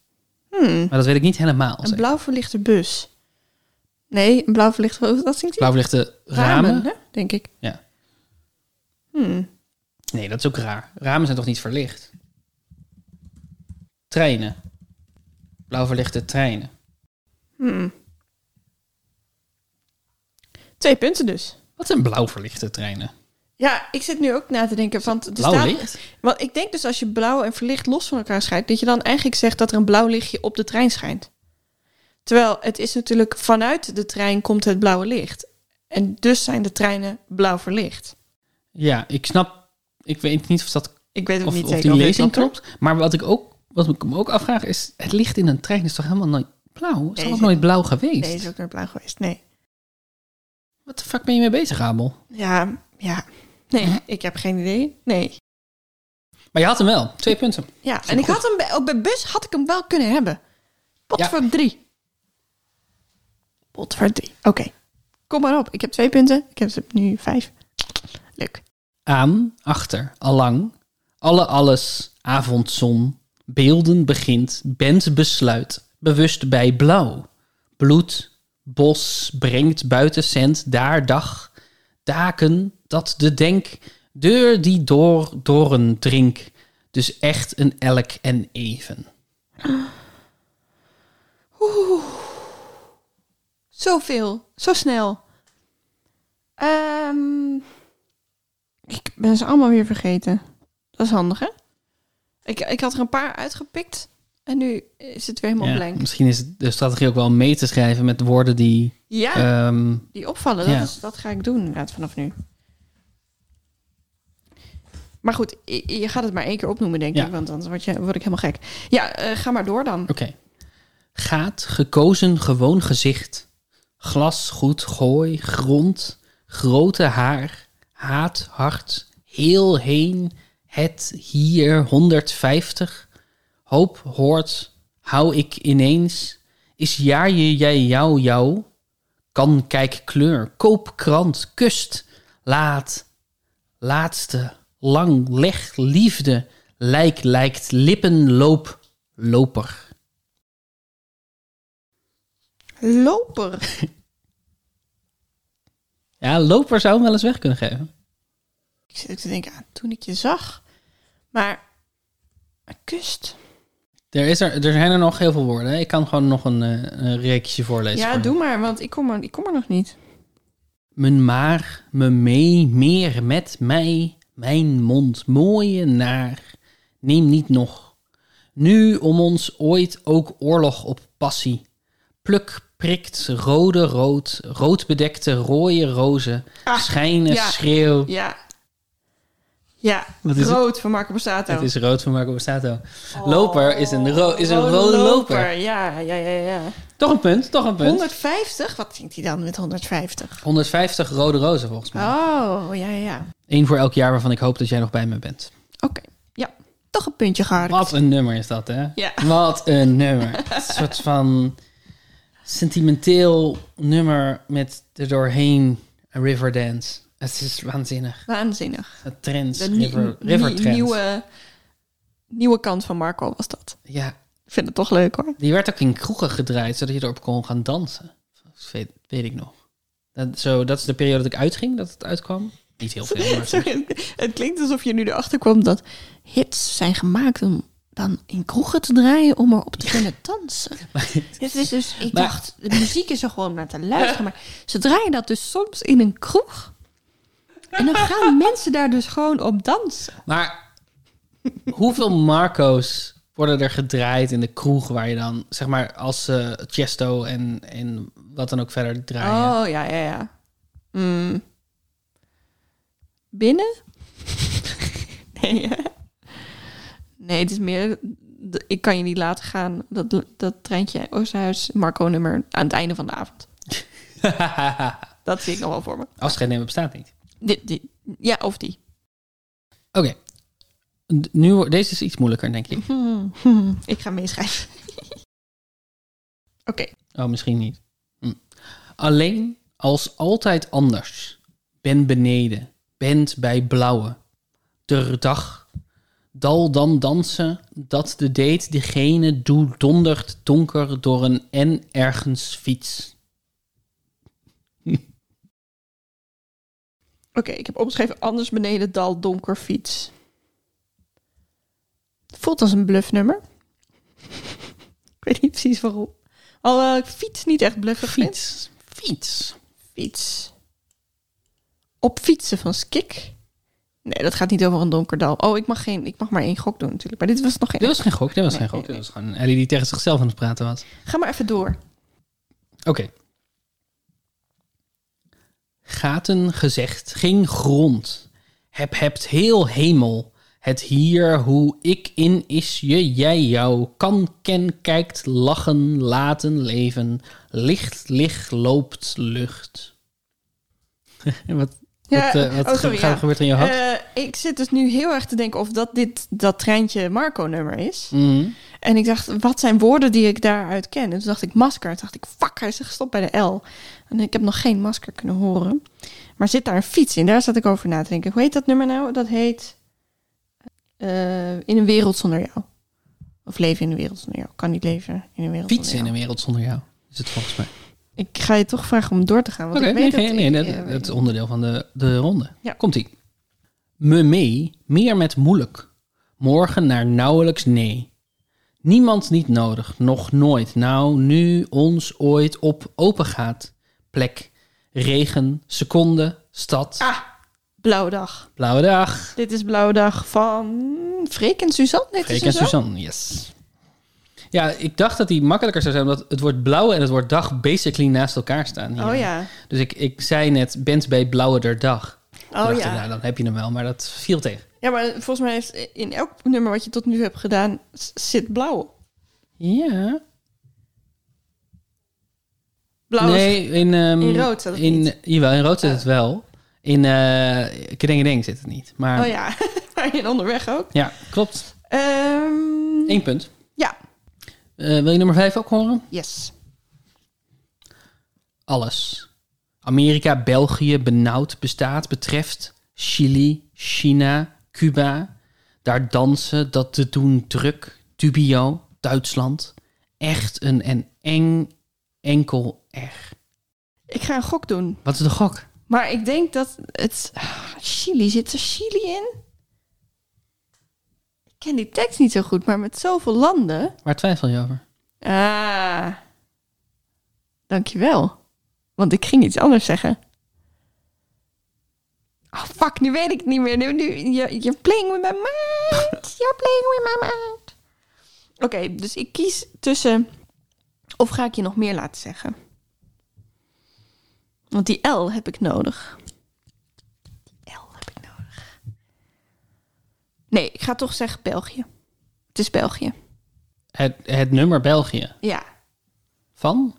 Speaker 1: Hmm,
Speaker 2: Maar dat weet ik niet helemaal.
Speaker 1: een
Speaker 2: zeker.
Speaker 1: blauw verlichte bus. Nee, een blauw verlichte... Dat zingt
Speaker 2: Blauw verlichte ramen.
Speaker 1: hè? denk ik.
Speaker 2: Ja.
Speaker 1: Hmm.
Speaker 2: Nee, dat is ook raar. Ramen zijn toch niet verlicht? Treinen. Blauw verlichte treinen.
Speaker 1: Hmm. Twee punten dus.
Speaker 2: Wat zijn blauw verlichte treinen?
Speaker 1: Ja, ik zit nu ook na te denken. Want, er
Speaker 2: Blauw
Speaker 1: staat-
Speaker 2: licht?
Speaker 1: want ik denk dus als je blauw en verlicht los van elkaar scheidt, dat je dan eigenlijk zegt dat er een blauw lichtje op de trein schijnt. Terwijl het is natuurlijk vanuit de trein komt het blauwe licht. En dus zijn de treinen blauw verlicht.
Speaker 2: Ja, ik snap. Ik weet niet of, dat,
Speaker 1: Ik weet ook
Speaker 2: of,
Speaker 1: niet
Speaker 2: of
Speaker 1: zeker.
Speaker 2: die
Speaker 1: of dit
Speaker 2: lezing
Speaker 1: klopt.
Speaker 2: klopt. Maar wat ik, ook, wat ik me ook afvraag is: het licht in een trein is toch helemaal nooit blauw? Is
Speaker 1: Nee,
Speaker 2: toch ook
Speaker 1: is-
Speaker 2: nooit blauw geweest?
Speaker 1: Nee, is ook nooit blauw geweest. Nee.
Speaker 2: Wat de fuck ben je mee bezig, Abel?
Speaker 1: Ja, ja. Nee, ik heb geen idee. Nee.
Speaker 2: Maar je had hem wel. Twee punten.
Speaker 1: Ja,
Speaker 2: Zo
Speaker 1: en ik
Speaker 2: goed.
Speaker 1: had hem bij, ook bij bus had ik hem wel kunnen hebben. Pot
Speaker 2: Ja.
Speaker 1: voor drie. Pot voor drie. Oké. Kom maar op. Ik heb twee punten. Ik heb ze nu vijf. Leuk.
Speaker 2: Aan, achter, allang. Alle alles, avondzon. Beelden begint, bent besluit. Bewust bij blauw. Bloed, bos, brengt buiten cent, daar dag. Daken, dat de denk. Deur die door, doren drink. Dus echt een elk en even.
Speaker 1: Zoveel. Zo snel. Ehm, ik ben ze allemaal weer vergeten. Dat is handig, hè? Ik, ik had er een paar uitgepikt. En nu is het weer helemaal
Speaker 2: Ja,
Speaker 1: blank.
Speaker 2: misschien is de strategie ook wel mee te schrijven met woorden die
Speaker 1: Ja,
Speaker 2: ehm,
Speaker 1: die opvallen. Dat,
Speaker 2: ja.
Speaker 1: is, dat ga ik doen inderdaad vanaf nu. Maar goed, i- je gaat het maar één keer opnoemen, denk
Speaker 2: Ja.
Speaker 1: ik. Want anders word, je, word ik helemaal gek. Ja, eh, ga maar door dan.
Speaker 2: Oké. Gaat, gekozen, gewoon gezicht. Glas, goed, gooi, grond, grote haar, haat, hart, heel heen, het, hier, 150. Hoop, hoort, hou ik ineens. Is jaar je, jij, jou, jou. Kan, kijk, kleur, koop, krant, kust, laat, laatste, lang, leg, liefde, lijk, lijkt, lippen, loop, loper.
Speaker 1: Loper.
Speaker 2: Ja, loper zou hem wel eens weg kunnen geven.
Speaker 1: Ik zit ook te denken aan toen ik je zag. Maar maar kust.
Speaker 2: Er, is er, er zijn er nog heel veel woorden. hè. Ik kan gewoon nog een, eh, een reeksje voorlezen.
Speaker 1: Ja,
Speaker 2: voor je.
Speaker 1: doe maar, want ik kom er, ik kom er nog niet.
Speaker 2: Mijn maar, me mee, meer met mij, mijn mond, mooie naar. Neem niet nog. Nu om ons ooit ook oorlog op passie. Pluk, prikt, rode, rood, roodbedekte, rode rozen.
Speaker 1: Ah,
Speaker 2: schijnen,
Speaker 1: ja.
Speaker 2: schreeuw.
Speaker 1: Ja. Ja,
Speaker 2: Wat is het?
Speaker 1: rood van Marco Borsato.
Speaker 2: Het is rood van Marco Borsato. Loper is een, ro- is een
Speaker 1: Oh,
Speaker 2: rode loper.
Speaker 1: Ja, ja, ja, ja.
Speaker 2: Toch een punt, toch een punt.
Speaker 1: 150? Wat zingt hij dan met 150?
Speaker 2: 150 rode rozen volgens mij.
Speaker 1: Oh, ja, ja, ja.
Speaker 2: Eén voor elk jaar waarvan ik hoop dat jij nog bij me bent.
Speaker 1: Oké, ja. Toch een puntje geharkt.
Speaker 2: Wat een nummer is dat, hè?
Speaker 1: Ja.
Speaker 2: Wat een nummer. een soort van sentimenteel nummer met er doorheen een Riverdance. Het is waanzinnig.
Speaker 1: Waanzinnig.
Speaker 2: Het Trends,
Speaker 1: De nie-
Speaker 2: river,
Speaker 1: nie-
Speaker 2: river Trends.
Speaker 1: nieuwe, nieuwe kant van Marco was dat.
Speaker 2: Ja,
Speaker 1: Ik vind het toch leuk hoor.
Speaker 2: die werd ook in kroegen gedraaid, zodat je erop kon gaan dansen. Dat weet, weet ik nog. Dat, zo, dat is de periode dat ik uitging, dat het uitkwam. Niet heel veel, maar soms.
Speaker 1: Sorry, het klinkt alsof je nu erachter kwam dat hits zijn gemaakt om dan in kroegen te draaien om erop te kunnen dansen. Dit is dus, ik
Speaker 2: Maar-
Speaker 1: dacht, de muziek is er gewoon om naar te luisteren, maar ze draaien dat dus soms in een kroeg. En dan gaan mensen daar dus gewoon op dansen.
Speaker 2: Maar hoeveel Marco's worden er gedraaid in de kroeg waar je dan, zeg maar, als eh Chesto en, en wat dan ook verder draaien?
Speaker 1: Oh, ja, ja, ja. Mm. Binnen? nee, hè? nee, het is meer... d- Ik kan je niet laten gaan. Dat, dat treintje Oosterhuis, Marco-nummer... aan het einde van de avond. Dat zie ik nog wel voor me.
Speaker 2: Afscheid nemen bestaat niet.
Speaker 1: Dit, dit, ja, of die.
Speaker 2: Oké. nu, wo- deze is iets moeilijker, denk ik.
Speaker 1: Hmm, hmm, ik ga meeschrijven. Oké.
Speaker 2: Oh, misschien niet. Hm. Alleen als altijd anders. Ben beneden. Bent bij blauwe. Ter dag. Dal dan dansen. Dat de date diegene doe dondert donker door een en ergens fiets.
Speaker 1: Oké, ik heb opgeschreven anders beneden dal donker fiets. Voelt als een bluffnummer. ik weet niet precies waarom. Alhoewel ik fiets niet echt bluffig vind.
Speaker 2: Fiets. Fiets.
Speaker 1: Fiets. Op fietsen van Skik. Nee, dat gaat niet over een donker dal. Oh, ik mag, geen, ik mag maar één gok doen natuurlijk. Maar dit was nog
Speaker 2: Dit
Speaker 1: geen.
Speaker 2: was geen gok, dit was
Speaker 1: Nee,
Speaker 2: geen gok.
Speaker 1: nee,
Speaker 2: Dit was gewoon Ellie die tegen zichzelf aan het praten was.
Speaker 1: Ga maar even door.
Speaker 2: Oké. Gaten gezegd, ging grond. Heb hebt heel hemel. Het hier, hoe ik in is je, jij jou. Kan, ken, kijkt, lachen, laten leven. Licht, licht, loopt, lucht. En wat wat, eh, wat
Speaker 1: oh, sorry,
Speaker 2: ge-
Speaker 1: ja.
Speaker 2: gebeurt er in je hoofd?
Speaker 1: Eh, ik zit dus nu heel erg te denken of dat dit dat treintje Marco-nummer is.
Speaker 2: Mhm.
Speaker 1: En ik dacht, wat zijn woorden die ik daaruit ken? En toen dacht ik masker. Toen dacht ik, fuck, hij is gestopt bij de L. En ik heb nog geen masker kunnen horen. Maar zit daar een fiets in? Daar zat ik over na te denken. Hoe heet dat nummer nou? Dat heet eh, In een wereld zonder jou. Of leven in een wereld zonder jou. Kan niet leven in een wereld
Speaker 2: Fietsen in
Speaker 1: zonder jou.
Speaker 2: een wereld zonder jou, is het volgens mij.
Speaker 1: Ik ga je toch vragen om door te gaan.
Speaker 2: Oké,
Speaker 1: Want ik
Speaker 2: nee,
Speaker 1: weet
Speaker 2: nee,
Speaker 1: dat
Speaker 2: nee,
Speaker 1: ik,
Speaker 2: dat,
Speaker 1: eh,
Speaker 2: dat
Speaker 1: weet-
Speaker 2: is onderdeel van de, de ronde.
Speaker 1: Ja.
Speaker 2: Komt-ie. Me mee, meer met moeilijk. Morgen naar nauwelijks nee. Niemand niet nodig, nog nooit. Nou, nu ons ooit op open gaat. Plek, regen, seconde, stad,
Speaker 1: Ah, blauwe dag.
Speaker 2: blauwe dag.
Speaker 1: Dit is blauwe dag van Freek en Suzanne. Heet
Speaker 2: Freek
Speaker 1: ze
Speaker 2: en
Speaker 1: zo?
Speaker 2: Suzanne, yes. Ja, ik dacht dat die makkelijker zou zijn, omdat het woord blauwe en het woord dag basically naast elkaar staan. hier.
Speaker 1: Oh ja.
Speaker 2: Dus ik, ik zei net, bent bij blauwe der dag. Toen
Speaker 1: Oh
Speaker 2: dacht ik,
Speaker 1: ja.
Speaker 2: nou, dan heb je hem wel, maar dat viel tegen.
Speaker 1: Ja, maar volgens mij heeft in elk nummer wat je tot nu hebt gedaan, s- zit blauw. op.
Speaker 2: Ja.
Speaker 1: Blauw is-
Speaker 2: nee, in, ehm,
Speaker 1: in rood staat het
Speaker 2: in,
Speaker 1: niet.
Speaker 2: Jawel, in rood zit
Speaker 1: Oh.
Speaker 2: het wel. In eh Kedeng Deng zit het niet. Maar
Speaker 1: Oh
Speaker 2: ja.
Speaker 1: ja, maar in onderweg ook.
Speaker 2: klopt.
Speaker 1: Ehm,
Speaker 2: Eén punt.
Speaker 1: Ja.
Speaker 2: Eh, wil je nummer vijf ook horen?
Speaker 1: yes.
Speaker 2: Alles. Amerika, België, benauwd, bestaat, betreft, Chili, China, Cuba. Daar dansen, dat te doen druk, dubio, Duitsland. Echt een en eng enkel R.
Speaker 1: Ik ga een gok doen.
Speaker 2: Wat is de gok?
Speaker 1: Maar ik denk dat het... Ah, Chili, zit er Chili in? Ik ken die tekst niet zo goed, maar met zoveel landen...
Speaker 2: Waar twijfel je over?
Speaker 1: Ah, dankjewel. Want ik ging iets anders zeggen. Oh, fuck, nu weet ik het niet meer. Nu, nu, you're, you're playing with my mind. You're playing with my mind. Oké, dus ik kies tussen... Of ga ik je nog meer laten zeggen? Want die L heb ik nodig. Die L heb ik nodig. Nee, ik ga toch zeggen België. Het is België.
Speaker 2: Het, het nummer België.
Speaker 1: Ja.
Speaker 2: Van?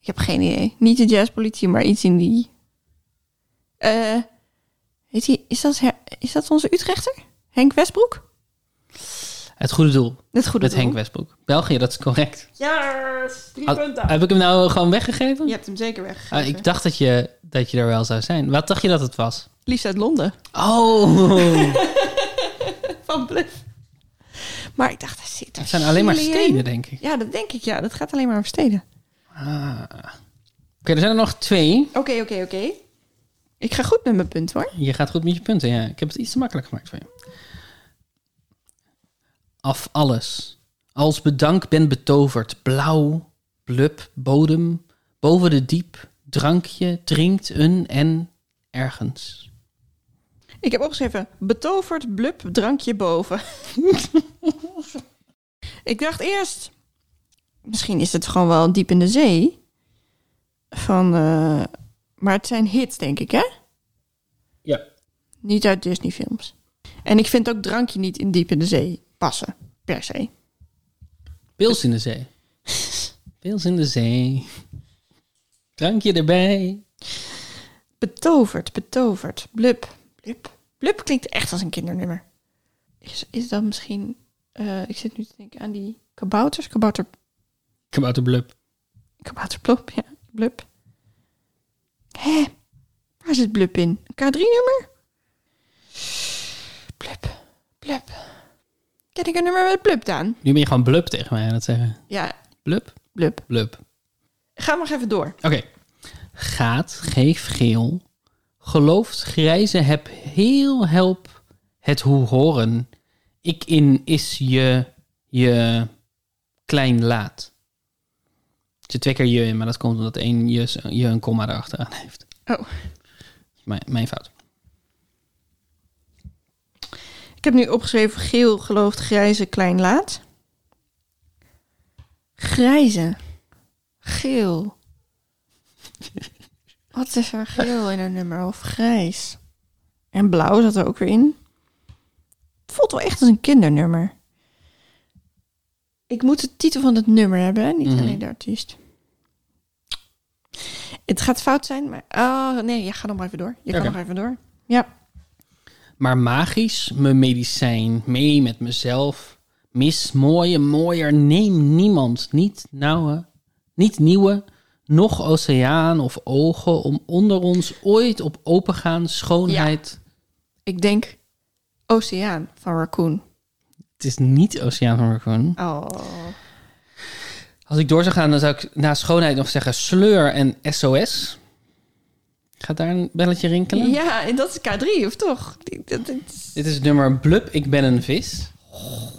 Speaker 1: Ik heb geen idee. Niet de jazzpolitie, maar iets in die. Eh, heet die is, dat, her- is dat onze Utrechter? Henk Westbroek?
Speaker 2: Het goede doel.
Speaker 1: Dat goede
Speaker 2: met Henk Westbroek. België, dat is correct.
Speaker 1: Ja, drie
Speaker 2: Had- heb ik hem nou gewoon weggegeven?
Speaker 1: Je hebt hem zeker weg.
Speaker 2: Ah, ik dacht dat je, dat je er wel zou zijn. Wat dacht je dat het was?
Speaker 1: Liefst uit Londen.
Speaker 2: Oh,
Speaker 1: Van Bluff. Maar ik dacht, hij zit er
Speaker 2: het zijn alleen maar
Speaker 1: Chili in.
Speaker 2: steden, denk ik.
Speaker 1: Ja, dat denk ik, ja. Dat gaat alleen maar over steden.
Speaker 2: Ah. Oké, er zijn er nog twee.
Speaker 1: Oké, oké, oké. Ik ga goed met mijn punt, hoor.
Speaker 2: Je gaat goed met je punten, ja. Ik heb het iets te makkelijk gemaakt voor je. Af alles. Als bedank ben betoverd. Blauw, blub, bodem. Boven de diep. Drankje, drinkt een en ergens.
Speaker 1: Ik heb opgeschreven, betoverd, blub, drankje boven. ik dacht eerst, misschien is het gewoon wel diep in de zee. Van, eh, maar het zijn hits, denk ik, hè?
Speaker 2: Ja.
Speaker 1: Niet uit Disney-films. En ik vind ook drankje niet in diep in de zee passen, per se.
Speaker 2: Pils in de zee. Pils in de zee. Drankje erbij.
Speaker 1: Betoverd, betoverd, blub, blub. Blub klinkt echt als een kindernummer. Is, is dat misschien... eh, ik zit nu te denken aan die kabouters. Kabouter,
Speaker 2: Kabouterblub.
Speaker 1: kabouterplop, ja. Blub. Hé, waar zit blub in? Een K3-nummer? Blub, blub. Ken ik een nummer met blub dan?
Speaker 2: Nu ben je gewoon blub tegen mij aan het zeggen.
Speaker 1: Ja,
Speaker 2: Blub,
Speaker 1: blub.
Speaker 2: blub.
Speaker 1: Ga nog even door.
Speaker 2: Oké. Gaat, geef geel. Gelooft grijze heb heel help het hoe horen. Ik in is je, je klein laat. Er zit twee keer je in, maar dat komt omdat één je, je een komma erachteraan heeft.
Speaker 1: Oh.
Speaker 2: Mijn, mijn fout.
Speaker 1: Ik heb nu opgeschreven geel gelooft grijze klein laat. Grijze. Geel. Wat is er geel in een nummer? Of grijs? En blauw zat er ook weer in. Het voelt wel echt als een kindernummer. Ik moet de titel van het nummer hebben, hè? niet
Speaker 2: Mhm.
Speaker 1: alleen de artiest. Het gaat fout zijn, maar... Oh, nee, ja, ga nog maar even door. Je
Speaker 2: Oké.
Speaker 1: kan nog even door. Ja.
Speaker 2: Maar magisch, mijn medicijn, mee met mezelf. Mis mooie, mooier, neem niemand. Niet nauwe, niet nieuwe, nog oceaan of ogen om onder ons ooit op opengaan, schoonheid.
Speaker 1: Ik denk Oceaan van Raccoon.
Speaker 2: Het is niet oceaan van Raccoon.
Speaker 1: Oh.
Speaker 2: Als ik door zou gaan, dan zou ik na schoonheid nog zeggen sleur en SOS. Gaat daar een belletje rinkelen?
Speaker 1: Ja, en dat is K3, of toch? Die- dat- dat is-
Speaker 2: Dit is het nummer Blub, ik ben een vis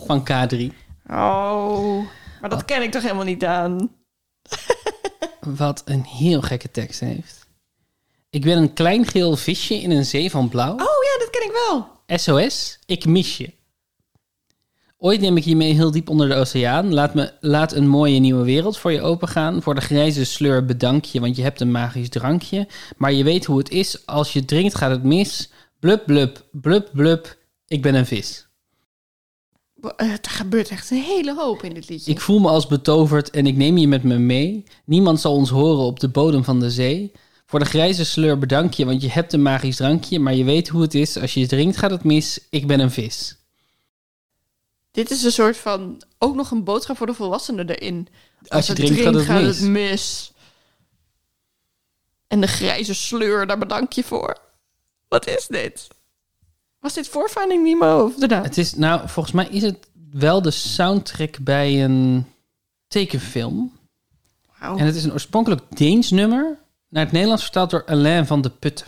Speaker 2: van K3.
Speaker 1: Oh, maar dat ken ik toch helemaal niet aan?
Speaker 2: Wat een heel gekke tekst heeft. Ik ben een klein geel visje in een zee van blauw.
Speaker 1: Oh ja, dat ken ik wel.
Speaker 2: SOS, ik mis je. Ooit neem ik je mee heel diep onder de oceaan. Laat, me, laat een mooie nieuwe wereld voor je opengaan. Voor de grijze sleur bedank je, want je hebt een magisch drankje. Maar je weet hoe het is. Als je drinkt gaat het mis. Blub, blub, blub, blub. Ik ben een vis.
Speaker 1: Wa- eh, Er gebeurt echt een hele hoop in dit liedje.
Speaker 2: Ik voel me als betoverd en ik neem je met me mee. Niemand zal ons horen op de bodem van de zee. Voor de grijze sleur bedank je, want je hebt een magisch drankje. Maar je weet hoe het is. Als je drinkt gaat het mis. Ik ben een vis.
Speaker 1: Dit is een soort van ook nog een boodschap voor de volwassenen erin. Als,
Speaker 2: je
Speaker 1: het
Speaker 2: drinkt, gaat het mis.
Speaker 1: mis. En de grijze sleur, daar bedank je voor. Wat is dit? Was dit voor Finding Nemo of daarna?
Speaker 2: Het is, nou, volgens mij is het wel de soundtrack bij een tekenfilm.
Speaker 1: Wauw.
Speaker 2: En het is een oorspronkelijk Deens nummer. Naar het Nederlands vertaald door Alain van de Putten.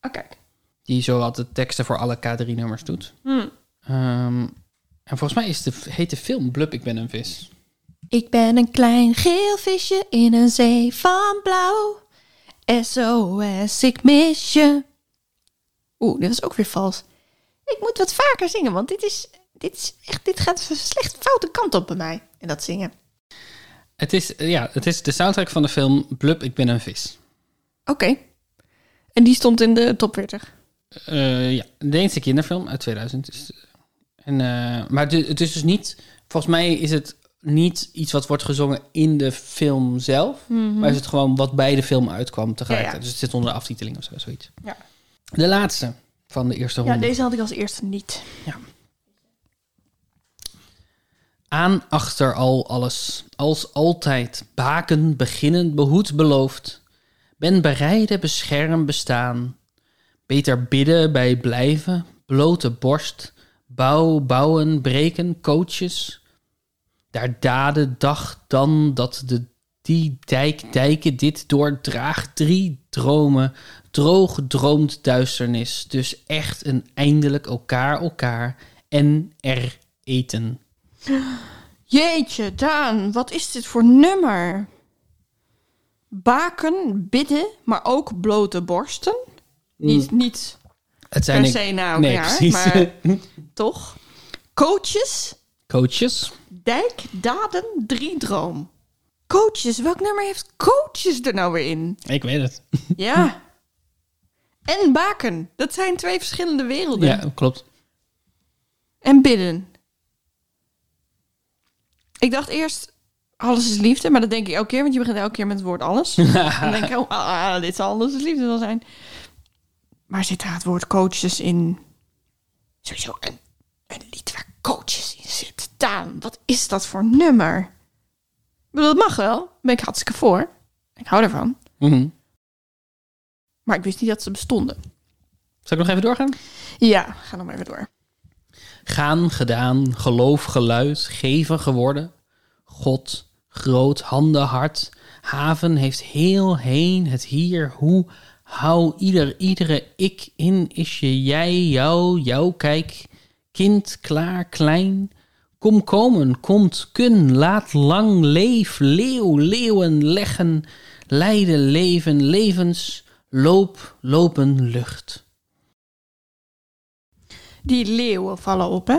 Speaker 1: Oh, kijk.
Speaker 2: Die zo altijd teksten voor alle K3-nummers doet.
Speaker 1: Hm.
Speaker 2: Ehm, en volgens mij is de, heet de film Blub, ik ben een vis.
Speaker 1: Ik ben een klein geel visje in een zee van blauw. SOS, ik mis je. Oeh, dit was ook weer vals. Ik moet wat vaker zingen, want dit is, dit is echt, dit gaat een slecht foute kant op bij mij. En dat zingen.
Speaker 2: Het is, eh, ja, het is de soundtrack van de film Blub, ik ben een vis.
Speaker 1: Oké. En die stond in de top 40.
Speaker 2: Eh, ja, een Deense kinderfilm uit 2000. Dus, en, eh, maar de- het is dus niet... Volgens mij is het niet iets wat wordt gezongen in de film zelf. Maar is het gewoon wat bij de film uitkwam tegelijkertijd.
Speaker 1: Mhm. Ja, ja.
Speaker 2: Dus het zit onder de aftiteling of zo, zoiets.
Speaker 1: Ja.
Speaker 2: De laatste van de eerste
Speaker 1: Ja,
Speaker 2: ronde.
Speaker 1: deze had ik als eerste niet.
Speaker 2: Aan achter al alles, als altijd, baken, beginnen, behoed, beloofd. Ben bereiden, bescherm, bestaan. Beter bidden bij blijven, blote borst, bouw, bouwen, breken, coaches. Daar daden, dag, dan, dat de die dijk, dijken, dit doordraag, drie dromen, droog droomt duisternis. Dus echt een eindelijk elkaar, elkaar en er eten.
Speaker 1: Jeetje, Daan, wat is dit voor nummer? Baken, bidden, maar ook blote borsten. Niet, niet
Speaker 2: Het
Speaker 1: per
Speaker 2: ik-
Speaker 1: se nou
Speaker 2: nee,
Speaker 1: ja,
Speaker 2: precies.
Speaker 1: maar toch. Coaches,
Speaker 2: Coaches.
Speaker 1: dijk, daden, driedroom. Coaches, welk nummer heeft coaches er nou weer in?
Speaker 2: Ik weet het.
Speaker 1: Ja. En baken, dat zijn twee verschillende werelden.
Speaker 2: Ja, klopt.
Speaker 1: En bidden. Ik dacht eerst, alles is liefde, maar dat denk ik elke keer, want je begint elke keer met het woord alles. Dan denk ik, oh, ah, dit zal alles is liefde wel zijn. Maar zit daar het woord coaches in? Sowieso een, een lied waar coaches in zit. Daan, wat is dat voor nummer? Ik bedoel, dat mag wel. Daar ben ik hartstikke voor. Ik hou ervan.
Speaker 2: Mhm.
Speaker 1: Maar ik wist niet dat ze bestonden.
Speaker 2: Zal ik nog even doorgaan?
Speaker 1: Ja, ga nog maar even door.
Speaker 2: Gaan, gedaan, geloof, geluid, geven, geworden. God, groot, handen, hart. Haven heeft heel heen, het hier, hoe. Hou ieder, iedere ik in, is je, jij, jou, jouw kijk. Kind, klaar, klein. Kom komen, komt, kun, laat lang, leef, leeuw, leeuwen, leggen. Lijden, leven, levens, loop, lopen, lucht.
Speaker 1: Die leeuwen vallen op, hè?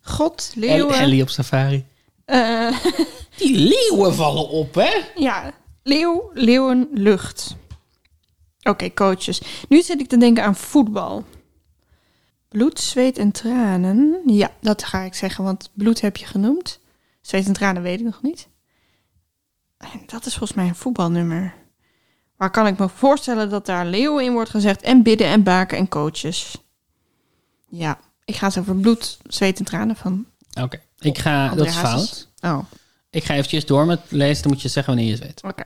Speaker 1: God,
Speaker 2: El-
Speaker 1: leeuwen.
Speaker 2: Ellie op safari.
Speaker 1: Eh,
Speaker 2: Die leeuwen vallen op, hè?
Speaker 1: ja, leeuw, leeuwen, lucht. Oké, coaches. Nu zit ik te denken aan voetbal. Bloed, zweet en tranen. Ja, dat ga ik zeggen, want bloed heb je genoemd. Zweet en tranen weet ik nog niet. En dat is volgens mij een voetbalnummer. Maar kan ik me voorstellen dat daar leeuwen in wordt gezegd en bidden en baken en coaches. Ja, ik ga het over bloed, zweet en tranen van.
Speaker 2: Oké, ik ga, Ah, dat is
Speaker 1: André Hazes.
Speaker 2: fout.
Speaker 1: Oh,
Speaker 2: Ik ga eventjes door met lezen, dan moet je zeggen wanneer je het weet.
Speaker 1: oké.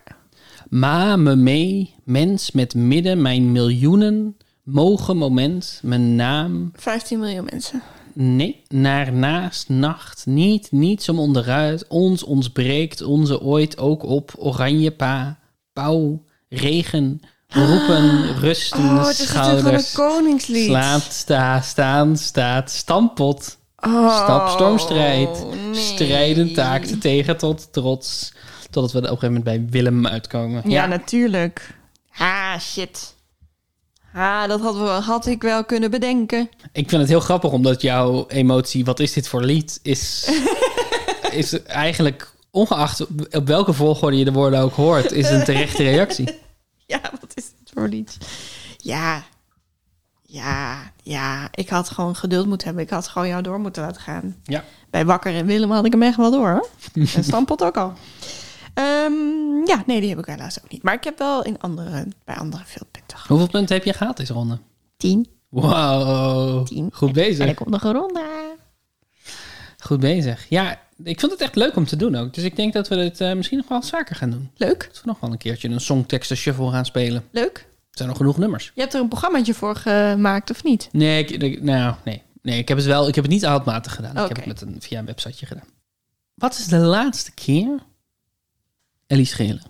Speaker 2: Ma me mee, mens met midden, mijn miljoenen, mogen moment, mijn naam,
Speaker 1: 15 miljoen mensen.
Speaker 2: nee, naar naast, nacht, niet, niets om onderuit, ons ontbreekt, onze ooit ook op, oranje pa, pauw, regen, roepen, rusten,
Speaker 1: Oh, het is natuurlijk
Speaker 2: schouders,
Speaker 1: gewoon een koningslied.
Speaker 2: slaat, sta, staan, staat, stampot.
Speaker 1: Oh,
Speaker 2: Stap, stormstrijd.
Speaker 1: nee.
Speaker 2: Strijden taakte tegen tot trots. Totdat we er op een gegeven moment bij Willem uitkomen.
Speaker 1: Ja, natuurlijk. Ah, shit. Ah, dat had, we, had ik wel kunnen bedenken.
Speaker 2: Ik vind het heel grappig omdat jouw emotie, wat is dit voor lied, is, is eigenlijk ongeacht op op welke volgorde je de woorden ook hoort, is een terechte reactie.
Speaker 1: Ja, wat is dit voor lied? Ja. Ja, ja. Ik had gewoon geduld moeten hebben. Ik had gewoon jou door moeten laten gaan.
Speaker 2: Ja.
Speaker 1: Bij Wakker en Willem had ik hem echt wel door, hoor. En Stampot ook al. Ehm, ja, nee, die heb ik helaas ook niet. Maar ik heb wel in andere, bij andere veel punten gehad.
Speaker 2: Hoeveel punten heb je gehaald deze ronde?
Speaker 1: Tien.
Speaker 2: Wow,
Speaker 1: Tien.
Speaker 2: goed
Speaker 1: En
Speaker 2: bezig.
Speaker 1: ik komt nog een ronde.
Speaker 2: Goed bezig. Ja, ik vond het echt leuk om te doen ook. Dus ik denk dat we het eh, misschien nog wel vaker gaan doen.
Speaker 1: Leuk,
Speaker 2: Dat we nog wel een keertje een songteksten shuffle gaan spelen.
Speaker 1: leuk.
Speaker 2: Er zijn nog genoeg nummers.
Speaker 1: Je hebt er een programmaatje voor gemaakt, of niet?
Speaker 2: Nee, ik, ik- nou, nee. nee, ik heb het wel. Ik heb het niet handmatig gedaan. Ik
Speaker 1: Oké.
Speaker 2: heb het met een, via een websiteje gedaan. Wat is de laatste keer, Ellie Schelen,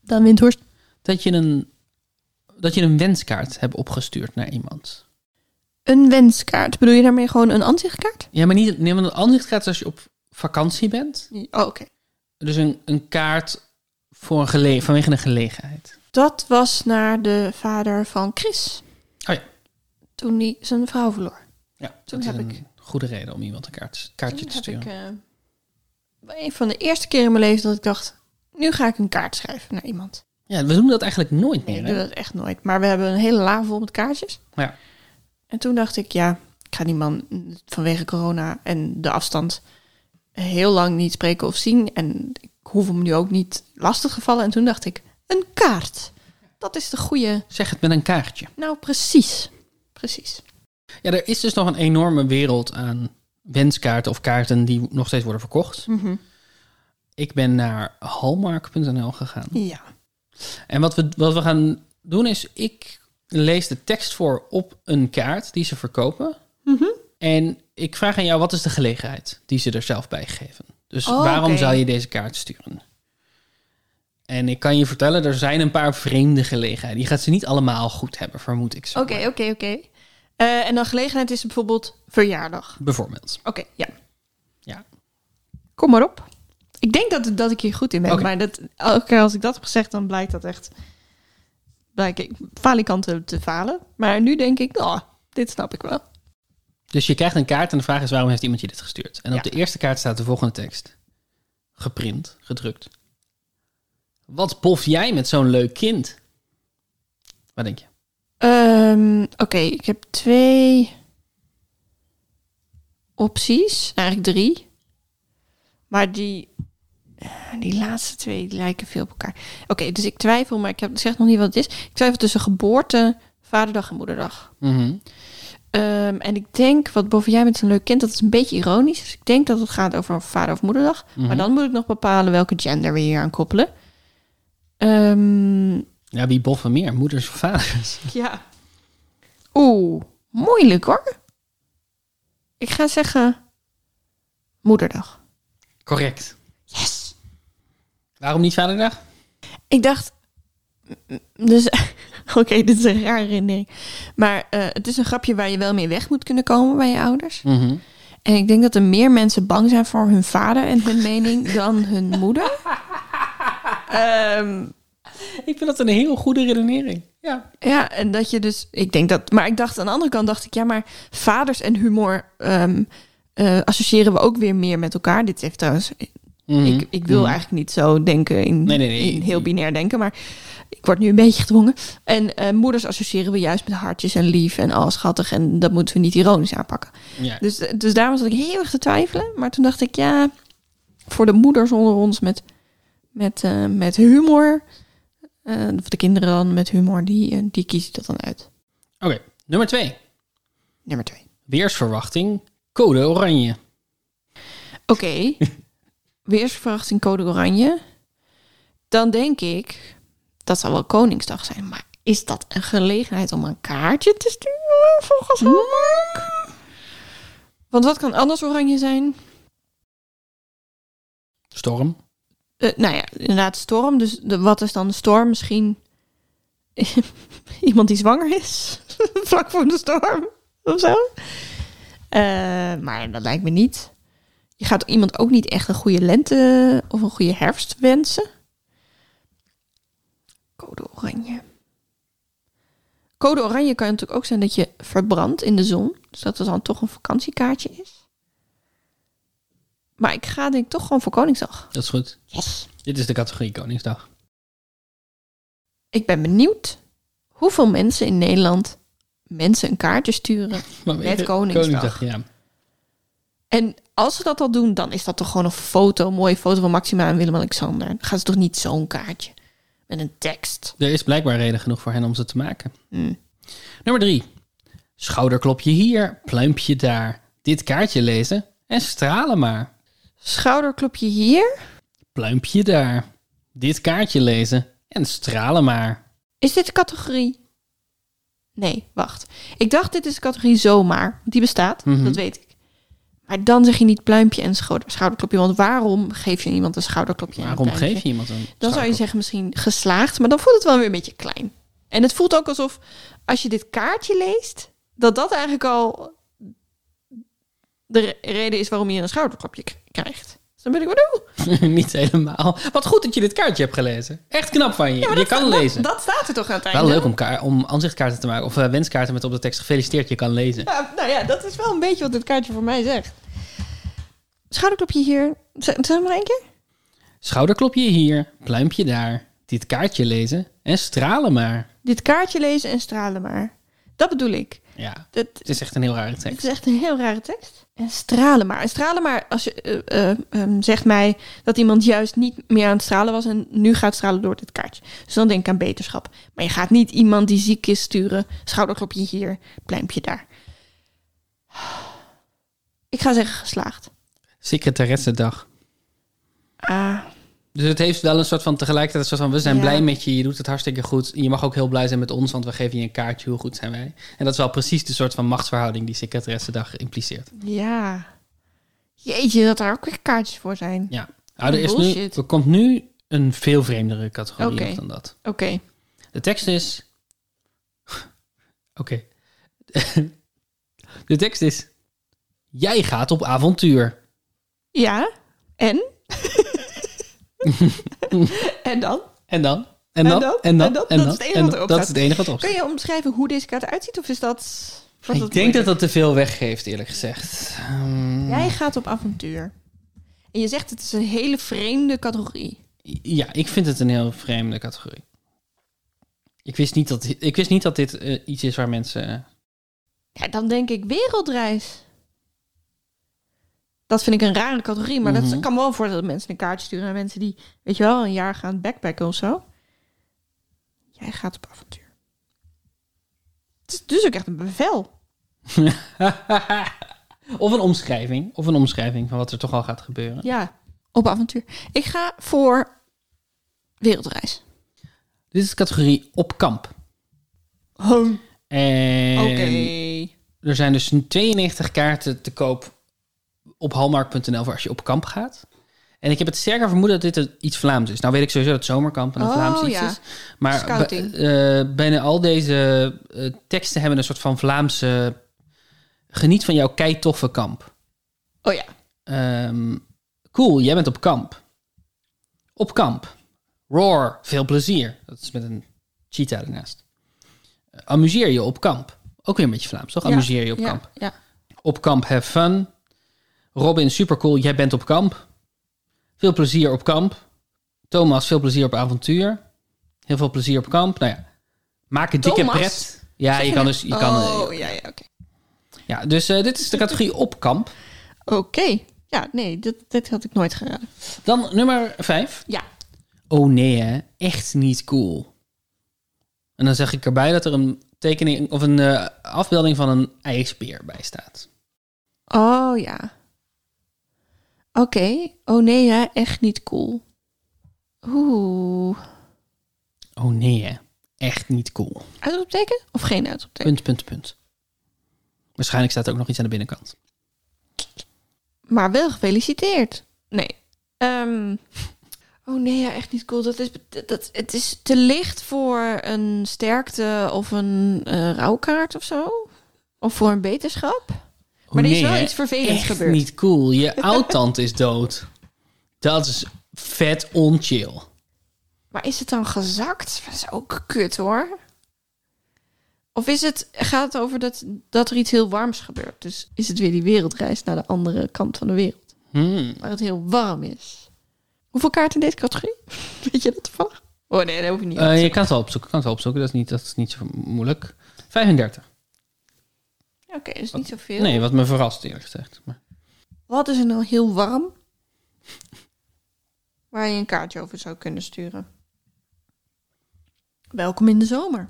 Speaker 1: Dan Windhorst.
Speaker 2: dat je een dat je een wenskaart hebt opgestuurd naar iemand?
Speaker 1: Een wenskaart. Bedoel je daarmee gewoon een aanzichtkaart?
Speaker 2: Ja, maar niet neem een ansichtkaart is als je op vakantie bent.
Speaker 1: Oh, oké.
Speaker 2: Dus een, een kaart voor een gele, vanwege een gelegenheid.
Speaker 1: Dat was naar de vader van Chris.
Speaker 2: Oh ja.
Speaker 1: Toen hij zijn vrouw verloor.
Speaker 2: Ja,
Speaker 1: Toen
Speaker 2: dat
Speaker 1: heb
Speaker 2: is een
Speaker 1: ik-
Speaker 2: goede reden om iemand een kaart, kaartje
Speaker 1: Toen
Speaker 2: te
Speaker 1: heb
Speaker 2: sturen.
Speaker 1: ik eh, een van de eerste keren in mijn leven dat ik dacht... Nu ga ik een kaart schrijven naar iemand.
Speaker 2: Ja, we doen dat eigenlijk nooit
Speaker 1: Nee,
Speaker 2: meer.
Speaker 1: ik
Speaker 2: hè?
Speaker 1: doe dat echt nooit. Maar we hebben een hele la vol met kaartjes.
Speaker 2: Ja.
Speaker 1: En toen dacht ik, ja, ik ga die man vanwege corona en de afstand heel lang niet spreken of zien. En ik hoef hem nu ook niet lastig te vallen. En toen dacht ik, een kaart. Dat is de goede.
Speaker 2: Zeg het met een kaartje.
Speaker 1: Nou, precies. Precies.
Speaker 2: Ja, er is dus nog een enorme wereld aan wenskaarten of kaarten die nog steeds worden verkocht.
Speaker 1: Mhm.
Speaker 2: Ik ben naar hallmark.nl gegaan.
Speaker 1: Ja.
Speaker 2: En wat we, wat we gaan doen is, ik lees de tekst voor op een kaart die ze verkopen.
Speaker 1: Mhm.
Speaker 2: En ik vraag aan jou, wat is de gelegenheid die ze er zelf bij geven? Dus
Speaker 1: Oh,
Speaker 2: waarom
Speaker 1: oké.
Speaker 2: zou je deze kaart sturen? En ik kan je vertellen, er zijn een paar vreemde gelegenheden. Je gaat ze niet allemaal goed hebben, vermoed ik zo.
Speaker 1: Oké, oké, oké. Eh, En dan gelegenheid is bijvoorbeeld verjaardag.
Speaker 2: Bijvoorbeeld.
Speaker 1: Oké, ja.
Speaker 2: Ja.
Speaker 1: Kom maar op. Ik denk dat, dat ik hier goed in ben.
Speaker 2: Oké.
Speaker 1: Maar dat, elke keer als ik dat heb gezegd, dan blijkt dat echt... Blijk ik falikanten te falen. Maar nu denk ik, oh, dit snap ik wel.
Speaker 2: Dus je krijgt een kaart en de vraag is waarom heeft iemand je dit gestuurd? En
Speaker 1: Ja.
Speaker 2: op de eerste kaart staat de volgende tekst. Geprint, gedrukt. Wat pof jij met zo'n leuk kind? Wat denk je?
Speaker 1: Ehm, Oké, ik heb twee opties. Eigenlijk drie. Maar die, die laatste twee die lijken veel op elkaar. Oké, dus ik twijfel, maar ik, heb, ik zeg nog niet wat het is. Ik twijfel tussen geboorte, vaderdag en moederdag.
Speaker 2: Mhm.
Speaker 1: Eh, Ehm, en ik denk, wat boven jij met een leuk kind, dat is een beetje ironisch. Dus ik denk dat het gaat over vader- of moederdag. Maar dan moet ik nog bepalen welke gender we hier aan koppelen. Ehm,
Speaker 2: Ja, wie boffen meer? Moeders of vaders?
Speaker 1: ja. Oeh, moeilijk hoor. Ik ga zeggen moederdag.
Speaker 2: Correct.
Speaker 1: Yes!
Speaker 2: Waarom niet vaderdag?
Speaker 1: Ik dacht, dus, oké, dit is een rare herinnering. Maar eh, het is een grapje waar je wel mee weg moet kunnen komen bij je ouders.
Speaker 2: Mhm.
Speaker 1: En ik denk dat er meer mensen bang zijn voor hun vader en hun mening dan hun moeder. Ehm,
Speaker 2: Ik vind dat een heel goede redenering. Ja.
Speaker 1: ja, en dat je dus, ik denk dat, maar ik dacht aan de andere kant, dacht ik, ja, maar vaders en humor ehm, eh, associëren we ook weer meer met elkaar. Dit heeft trouwens
Speaker 2: Mhm.
Speaker 1: Ik, ik wil eigenlijk niet zo denken, in,
Speaker 2: Nee, nee, nee.
Speaker 1: in heel binair denken, maar ik word nu een beetje gedwongen. En eh, moeders associëren we juist met hartjes en lief en alles schattig en dat moeten we niet ironisch aanpakken.
Speaker 2: Ja.
Speaker 1: Dus, dus daarom zat ik heel erg te twijfelen, maar toen dacht ik, ja, voor de moeders onder ons met, met, eh, met humor, eh, of de kinderen dan met humor, die, eh, die kies ik dat dan uit.
Speaker 2: Oké, nummer twee.
Speaker 1: Nummer twee.
Speaker 2: Weersverwachting, code oranje.
Speaker 1: Oké. Weersverwachting code oranje. Dan denk ik, dat zal wel Koningsdag zijn. Maar is dat een gelegenheid om een kaartje te sturen volgens Hallmark? Want wat kan anders oranje zijn?
Speaker 2: Storm.
Speaker 1: Eh, nou ja, inderdaad storm. Dus de, wat is dan de storm? Misschien iemand die zwanger is? Vlak voor de storm of zo? Eh, maar dat lijkt me niet. Je gaat iemand ook niet echt een goede lente of een goede herfst wensen. Code oranje. Code oranje kan natuurlijk ook zijn dat je verbrandt in de zon. Dus dat het dan toch een vakantiekaartje is. Maar ik ga denk ik toch gewoon voor Koningsdag.
Speaker 2: Dat is goed.
Speaker 1: Yes.
Speaker 2: Dit is de categorie Koningsdag.
Speaker 1: Ik ben benieuwd hoeveel mensen in Nederland mensen een kaartje sturen.
Speaker 2: Maar
Speaker 1: Met
Speaker 2: weet je,
Speaker 1: Koningsdag.
Speaker 2: ja.
Speaker 1: En als ze dat al doen, dan is dat toch gewoon een foto, een mooie foto van Maxima en Willem-Alexander. Dan gaan ze toch niet zo'n kaartje met een tekst.
Speaker 2: Er is blijkbaar reden genoeg voor hen om ze te maken.
Speaker 1: Hm.
Speaker 2: Nummer drie. Schouderklopje hier, pluimpje daar. Dit kaartje lezen en stralen maar.
Speaker 1: Schouderklopje hier.
Speaker 2: Pluimpje daar. Dit kaartje lezen en stralen maar.
Speaker 1: Is dit de categorie? Nee, wacht. Ik dacht dit is de categorie zomaar. Want Die bestaat,
Speaker 2: Mhm.
Speaker 1: dat weet ik. Maar dan zeg je niet pluimpje en schouder- schouderklopje. Want waarom geef je iemand een schouderklopje? en een
Speaker 2: Waarom
Speaker 1: pluimpje?
Speaker 2: geef je iemand een
Speaker 1: Dan zou je
Speaker 2: schouderklopje?
Speaker 1: zeggen misschien geslaagd, maar dan voelt het wel weer een beetje klein. En het voelt ook alsof als je dit kaartje leest, dat dat eigenlijk al de re- reden is waarom je een schouderklopje k- krijgt. Dus dan ben ik bedoel.
Speaker 2: Niet helemaal. Wat goed dat je dit kaartje hebt gelezen. Echt knap van je. je kan lezen.
Speaker 1: Dat, staat er toch aan het einde.
Speaker 2: Wel leuk om, ka- om aanzichtkaarten te maken. Of eh, wenskaarten met op de tekst. Gefeliciteerd, je kan lezen.
Speaker 1: Ja, nou ja, dat is wel een beetje wat dit kaartje voor mij zegt. Schouderklopje hier. Z- Zeg maar één keer.
Speaker 2: Schouderklopje hier, pluimpje daar. Dit kaartje lezen en stralen maar.
Speaker 1: Dit kaartje lezen en stralen maar. Dat bedoel ik.
Speaker 2: Ja,
Speaker 1: Dat,
Speaker 2: het is echt een heel rare
Speaker 1: Het
Speaker 2: tekst.
Speaker 1: is echt een heel rare tekst. En stralen maar. En stralen maar, als je eh, eh, ehm, zegt mij dat iemand juist niet meer aan het stralen was en nu gaat stralen door dit kaartje. Dus dan denk ik aan beterschap. Maar je gaat niet iemand die ziek is sturen, schouderklopje hier, pluimpje daar. Ik ga zeggen geslaagd.
Speaker 2: Secretaressendag.
Speaker 1: Ah,
Speaker 2: Dus het heeft wel een soort van tegelijkertijd een soort van... we zijn
Speaker 1: Ja.
Speaker 2: blij met je, je doet het hartstikke goed. Je mag ook heel blij zijn met ons, want we geven je een kaartje. Hoe goed zijn wij? En dat is wel precies de soort van machtsverhouding... die secretaressendag impliceert.
Speaker 1: ja. Jeetje, dat daar ook weer kaartjes voor zijn.
Speaker 2: Ja. Nou, er, is nu,
Speaker 1: Bullshit.
Speaker 2: er komt nu een veel vreemdere categorie
Speaker 1: Oké.
Speaker 2: op dan dat.
Speaker 1: Oké.
Speaker 2: De tekst is. Oké. De tekst is. Jij gaat op avontuur.
Speaker 1: Ja. En? en dan?
Speaker 2: En dan? En dan? En dan? En dan?
Speaker 1: Dat is het enige wat erop
Speaker 2: dat
Speaker 1: staat.
Speaker 2: is het enige wat erop
Speaker 1: Kun
Speaker 2: staat.
Speaker 1: je omschrijven hoe deze kaart uitziet? Of is dat... was
Speaker 2: Ik denk dat
Speaker 1: moeilijk?
Speaker 2: dat te veel weggeeft, eerlijk gezegd. Ehm,
Speaker 1: Jij gaat op avontuur. En je zegt het is een hele vreemde categorie.
Speaker 2: Ja, ik vind het een heel vreemde categorie. Ik wist niet dat, ik wist niet dat dit eh, iets is waar mensen.
Speaker 1: Ja, dan denk ik wereldreis. Dat vind ik een rare categorie. Maar
Speaker 2: Mhm.
Speaker 1: dat kan me wel voor dat mensen een kaartje sturen aan mensen die, weet je wel, een jaar gaan backpacken of zo. Jij gaat op avontuur. Het is dus ook echt een bevel.
Speaker 2: eh, Of een omschrijving. Of een omschrijving van wat er toch al gaat gebeuren.
Speaker 1: Ja, op avontuur. Ik ga voor wereldreis.
Speaker 2: Dit is de categorie op kamp. En
Speaker 1: Oké.
Speaker 2: er zijn dus 92 kaarten te koop op hallmark.nl voor als je op kamp gaat. En ik heb het sterker vermoeden dat dit een- iets Vlaams is. Nou weet ik sowieso dat zomerkamp en een
Speaker 1: Oh,
Speaker 2: Vlaams iets
Speaker 1: ja.
Speaker 2: is. Maar
Speaker 1: Scouting.
Speaker 2: bij- eh, bijna al deze eh, teksten hebben een soort van Vlaamse... Geniet van jouw keitoffe kamp.
Speaker 1: Oh ja.
Speaker 2: Ehm, cool, jij bent op kamp. Op kamp. Roar, veel plezier. Dat is met een cheetah ernaast. Eh, amuseer je op kamp. Ook weer een beetje Vlaams, toch?
Speaker 1: Ja,
Speaker 2: Amuseer je op
Speaker 1: ja,
Speaker 2: kamp.
Speaker 1: Ja.
Speaker 2: Op kamp, have fun. Robin, supercool, jij bent op kamp. Veel plezier op kamp. Thomas, veel plezier op avontuur. Heel veel plezier op kamp. Nou ja, maak een dikke
Speaker 1: Thomas?
Speaker 2: pret. Ja, je kan dus... Je
Speaker 1: oh,
Speaker 2: kan, eh,
Speaker 1: ja, ja, oké.
Speaker 2: ja, dus eh, dit is de categorie op kamp.
Speaker 1: Oké. Ja, nee, dit, dit had ik nooit geraden.
Speaker 2: Dan nummer vijf.
Speaker 1: Ja.
Speaker 2: oh nee hè, echt niet cool. En dan zeg ik erbij dat er een tekening of een eh, afbeelding van een ijsbeer bij staat.
Speaker 1: Oh ja. Oké. Oh nee, hè, echt niet cool. Oeh.
Speaker 2: Oh nee hè, echt niet cool.
Speaker 1: Uitroepteken of geen uitroepteken?
Speaker 2: Punt, punt, punt. Waarschijnlijk staat er ook nog iets aan de binnenkant.
Speaker 1: Maar wel gefeliciteerd. Nee. Ehm, oh nee, ja, echt niet cool. Dat is, dat, het is te licht voor een sterkte of een eh, rouwkaart of zo. Of voor een beterschap.
Speaker 2: Oh,
Speaker 1: Maar er is
Speaker 2: nee,
Speaker 1: wel
Speaker 2: hè,
Speaker 1: iets vervelends
Speaker 2: echt
Speaker 1: gebeurd.
Speaker 2: niet cool. Je oudtante is dood. Dat is vet onchill.
Speaker 1: Maar is het dan gezakt? Dat is ook kut hoor. Of is het, gaat het over dat, dat er iets heel warms gebeurt? Dus is het weer die wereldreis naar de andere kant van de wereld?
Speaker 2: Hmm.
Speaker 1: Waar het heel warm is. Hoeveel kaarten in deze categorie? Weet je dat toevallig? Oh nee, dat hoef je niet.
Speaker 2: Eh, je kan het wel opzoeken, kan het wel opzoeken. Dat is niet, dat is niet zo moeilijk. 35.
Speaker 1: Oké, dus niet zoveel.
Speaker 2: Nee, wat me verrast eerlijk gezegd. Maar
Speaker 1: Wat is er nou heel warm? Waar je een kaartje over zou kunnen sturen. Welkom in de zomer.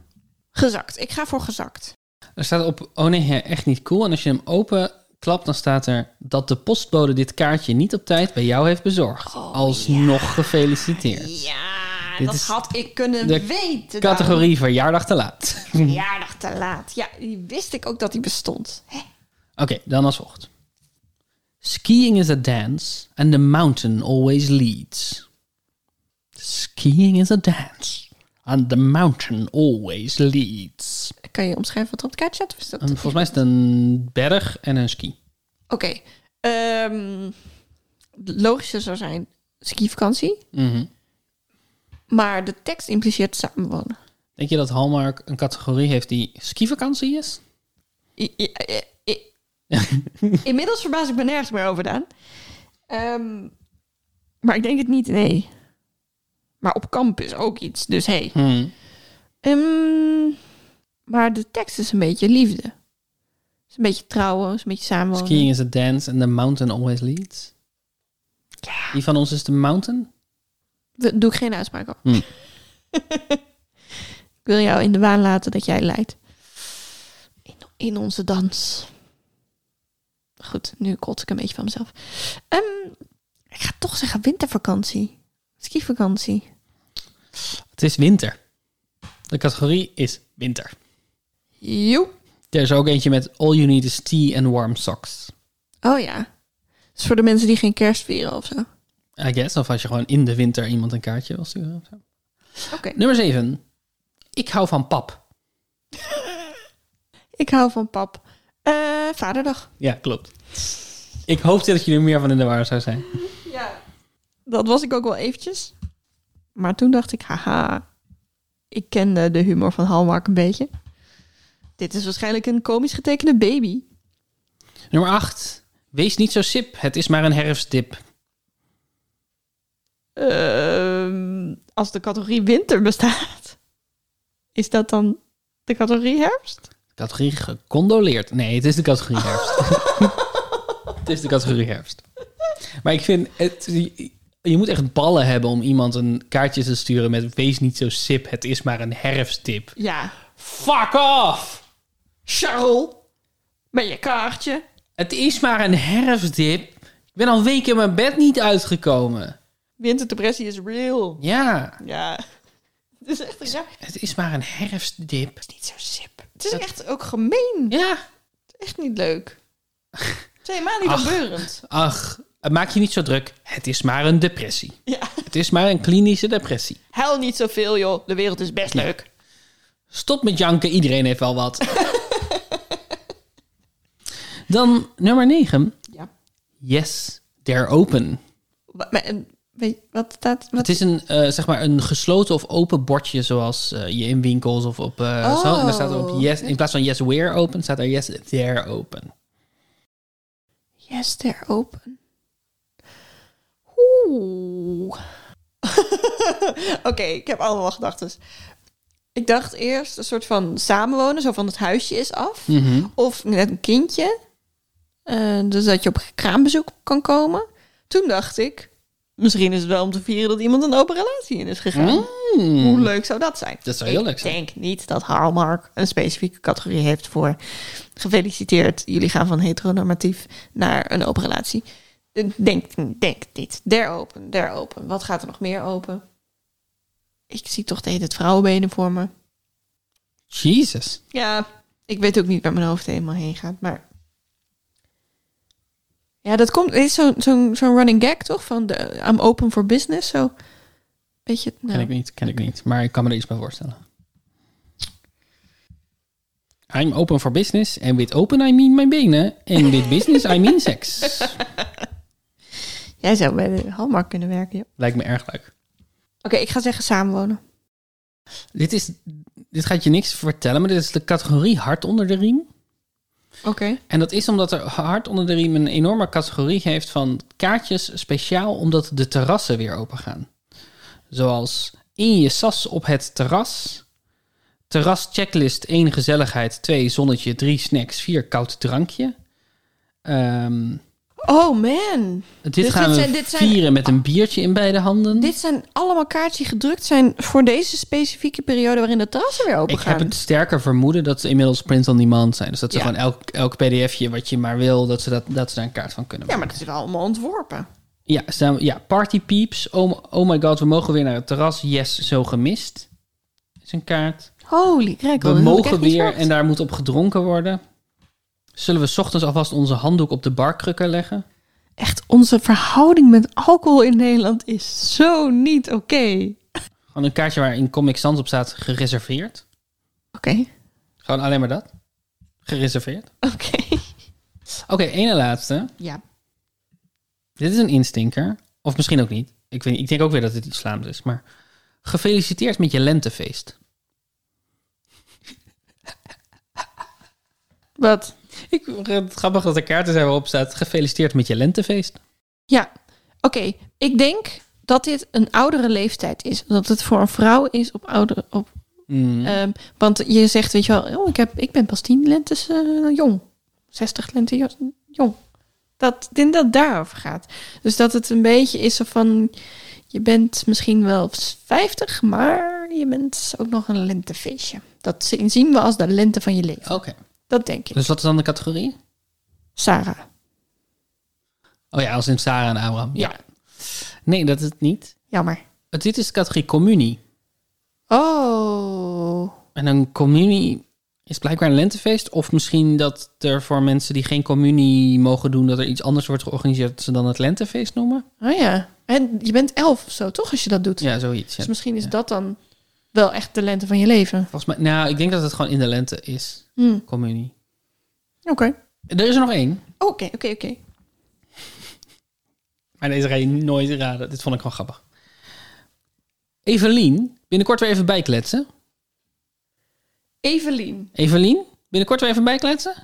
Speaker 1: Gezakt. Ik ga voor gezakt.
Speaker 2: Er staat op, oh nee, hè, echt niet cool. En als je hem open klapt, dan staat er dat de postbode dit kaartje niet op tijd bij jou heeft bezorgd.
Speaker 1: Oh,
Speaker 2: Alsnog gefeliciteerd.
Speaker 1: Ja,
Speaker 2: Dit
Speaker 1: dat
Speaker 2: is
Speaker 1: had ik kunnen
Speaker 2: de
Speaker 1: weten.
Speaker 2: Categorie verjaardag te laat.
Speaker 1: daarom. Verjaardag te laat. Ja, die wist ik ook dat die bestond. Hè?
Speaker 2: Oké, dan als volgt. Skiing is a dance and the mountain always leads. Skiing is a dance and the mountain always leads.
Speaker 1: Kan je omschrijven wat er op het kaartje staat? Of is dat-
Speaker 2: En volgens mij is het een berg en een ski.
Speaker 1: Oké. ehm, het logische zou zijn skivakantie.
Speaker 2: Mhm.
Speaker 1: Maar de tekst impliceert samenwonen.
Speaker 2: Denk je dat Hallmark een categorie heeft die skivakantie is?
Speaker 1: I- i- i- i- Inmiddels verbaas ik me nergens meer over, Daan. Ehm, maar ik denk het niet, nee. Maar op kamp is ook iets, dus hey.
Speaker 2: Hmm.
Speaker 1: Ehm, maar de tekst is een beetje liefde. is een beetje trouwen, is een beetje samenwonen.
Speaker 2: Skiing is a dance and the mountain always leads. Die van ons is de mountain?
Speaker 1: We- Doe ik geen uitspraak op.
Speaker 2: Hm.
Speaker 1: ik wil jou in de waan laten dat jij leidt. In, in onze dans. Goed, nu kot ik een beetje van mezelf. Ehm, ik ga toch zeggen wintervakantie. Skivakantie.
Speaker 2: Het is winter. De categorie is winter.
Speaker 1: Joep.
Speaker 2: Er is ook eentje met all you need is tea and warm socks.
Speaker 1: Oh ja. Dat is voor de mensen die geen kerst vieren of zo. Oké.
Speaker 2: I guess. Of als je gewoon in de winter iemand een kaartje wil sturen. of zo. Nummer 7. Ik hou van pap.
Speaker 1: Ik hou van pap. Eh, vaderdag.
Speaker 2: Ja, klopt. Ik hoopte dat je er meer van in de war zou zijn.
Speaker 1: Ja. Dat was ik ook wel eventjes. Maar toen dacht ik, haha, ik kende de humor van Hallmark een beetje. Dit is waarschijnlijk een komisch getekende baby.
Speaker 2: Nummer 8. Wees niet zo sip. Het is maar een herfstdip.
Speaker 1: Ehm, als de categorie winter bestaat, is dat dan de categorie herfst?
Speaker 2: Categorie gecondoleerd. Nee, het is de categorie herfst. het is de categorie herfst. Maar ik vind, het, je, je moet echt ballen hebben om iemand een kaartje te sturen met wees niet zo sip, het is maar een herfsttip.
Speaker 1: Ja.
Speaker 2: Fuck off!
Speaker 1: Charles, Met je kaartje.
Speaker 2: Het is maar een herfstdip. Ik ben al weken mijn bed niet uitgekomen.
Speaker 1: Winterdepressie is real.
Speaker 2: Ja,
Speaker 1: Ja. Het is echt, ja, het
Speaker 2: het is maar een herfstdip.
Speaker 1: is niet zo sip. Het is echt ook gemeen.
Speaker 2: Ja.
Speaker 1: Echt niet leuk. Het is helemaal niet
Speaker 2: Ach.
Speaker 1: opbeurend.
Speaker 2: Ach, maak je niet zo druk. Het is maar een depressie.
Speaker 1: Ja.
Speaker 2: Het is maar een klinische depressie.
Speaker 1: Huil niet zoveel, joh. De wereld is best leuk.
Speaker 2: Stop met janken, iedereen heeft wel wat. Dan nummer 9.
Speaker 1: Ja.
Speaker 2: Yes, they're open.
Speaker 1: Wa- Maar, en, weet, wat staat... Wat?
Speaker 2: Het is een, eh, zeg maar een gesloten of open bordje, zoals eh, je in winkels of op... eh, zo. En daar staat er op
Speaker 1: Oh.
Speaker 2: yes, in plaats van yes, we're open, staat er yes, they're open.
Speaker 1: Yes, they're open. Oeh. Oké, ik heb allemaal gedachten. Ik dacht eerst een soort van samenwonen, zo van het huisje is af.
Speaker 2: Mhm.
Speaker 1: Of net een kindje. Eh, dus dat je op kraambezoek kan komen. Toen dacht ik, misschien is het wel om te vieren dat iemand een open relatie in is gegaan.
Speaker 2: Mm.
Speaker 1: Hoe leuk zou dat zijn?
Speaker 2: Dat zou heel leuk zijn.
Speaker 1: Ik denk niet dat Hallmark een specifieke categorie heeft voor gefeliciteerd. Jullie gaan van heteronormatief naar een open relatie. Denk, denk niet. Der open, der open. Wat gaat er nog meer open? Ik zie toch de hele tijd vrouwenbenen voor me.
Speaker 2: Jesus.
Speaker 1: Ja, ik weet ook niet waar mijn hoofd helemaal heen gaat, maar... Ja, dat komt... Het is zo'n zo'n zo'n running gag, toch? Van de, I'm open for business, zo... Beetje...
Speaker 2: Ken ik
Speaker 1: Nou,
Speaker 2: niet, ken ik niet. Maar ik kan me er iets bij voorstellen. I'm open for business. And with open I mean mijn benen. And with business I mean seks.
Speaker 1: jij zou bij de Hallmark kunnen werken, joh.
Speaker 2: Lijkt me erg leuk.
Speaker 1: Oké, ik ga zeggen samenwonen.
Speaker 2: Dit, is, dit gaat je niks vertellen, maar dit is de categorie hart onder de riem.
Speaker 1: Oké.
Speaker 2: En dat is omdat er hart onder de riem een enorme categorie heeft van kaartjes speciaal omdat de terrassen weer open gaan. Zoals in je sas op het terras. Terras checklist 1 gezelligheid, 2 zonnetje, 3 snacks, 4 koud drankje. Ehm,
Speaker 1: Oh man.
Speaker 2: dit
Speaker 1: Dus dit
Speaker 2: gaan we
Speaker 1: zijn- dit zijn-
Speaker 2: vieren met een biertje in beide handen.
Speaker 1: Dit zijn allemaal kaartjes die gedrukt zijn voor deze specifieke periode waarin de terrassen weer open
Speaker 2: Ik heb
Speaker 1: gaan.
Speaker 2: het sterker vermoeden dat ze inmiddels print on demand zijn. Dus dat ze
Speaker 1: Ja.
Speaker 2: gewoon elk, elk pdfje wat je maar wil, dat ze, dat, dat ze daar een kaart van kunnen
Speaker 1: Ja,
Speaker 2: maken.
Speaker 1: maar dat is wel allemaal ontworpen.
Speaker 2: Ja, staan we- ja Party Peeps. Oh, m- oh my god, we mogen weer naar het terras. Yes, zo gemist. Is een kaart.
Speaker 1: Holy crap.
Speaker 2: We mogen weer en daar moet op gedronken worden. Zullen we 's ochtends alvast onze handdoek op de barkrukker leggen?
Speaker 1: Echt, onze verhouding met alcohol in Nederland is zo niet oké.
Speaker 2: Gewoon een kaartje waar in Comic Sans op staat gereserveerd.
Speaker 1: Oké,
Speaker 2: Gewoon alleen maar dat. Gereserveerd.
Speaker 1: oké.
Speaker 2: Oké, ene laatste.
Speaker 1: Ja.
Speaker 2: Dit is een instinker. Of misschien ook niet. Ik, weet, ik denk ook weer dat het iets Vlaams is. Maar gefeliciteerd met je lentefeest.
Speaker 1: Wat?
Speaker 2: Ik vind het grappig dat er kaarten zijn waarop staat gefeliciteerd met je lentefeest.
Speaker 1: Ja, oké. Ik denk dat dit een oudere leeftijd is. Dat het voor een vrouw is op oudere... Op,
Speaker 2: Mm.
Speaker 1: Ehm, want je zegt, weet je wel, oh, ik, heb, ik ben pas 10 lentes eh, jong. 60 lentes jo- jong. Dat, ik denk dat het daarover gaat. Dus dat het een beetje is zo van, je bent misschien wel 50, maar je bent ook nog een lentefeestje. Dat zi- zien we als de lente van je leven.
Speaker 2: Oké.
Speaker 1: Dat denk ik.
Speaker 2: Dus wat is dan de categorie?
Speaker 1: Sarah.
Speaker 2: Oh ja, als in Sarah en Abraham.
Speaker 1: Ja.
Speaker 2: Nee, dat is het niet.
Speaker 1: Jammer.
Speaker 2: Het- Dit is de categorie communie.
Speaker 1: Oh.
Speaker 2: En een communie is blijkbaar een lentefeest. Of misschien dat er voor mensen die geen communie mogen doen... dat er iets anders wordt georganiseerd... dat ze dan het lentefeest noemen.
Speaker 1: Oh ja. En je bent 11 of zo, toch, als je dat doet?
Speaker 2: Ja, zoiets. ja.
Speaker 1: Dus misschien is dat dan wel echt de lente van je leven.
Speaker 2: Volgens mij, nou, ik denk dat het gewoon in de lente is.
Speaker 1: Hm.
Speaker 2: Communie.
Speaker 1: Oké.
Speaker 2: Er is er nog één.
Speaker 1: Oké, oké, oké.
Speaker 2: Maar deze ga je nooit raden. Dit vond ik gewoon grappig. Evelien, binnenkort weer even bijkletsen.
Speaker 1: Evelien.
Speaker 2: Evelien, binnenkort weer even bijkletsen?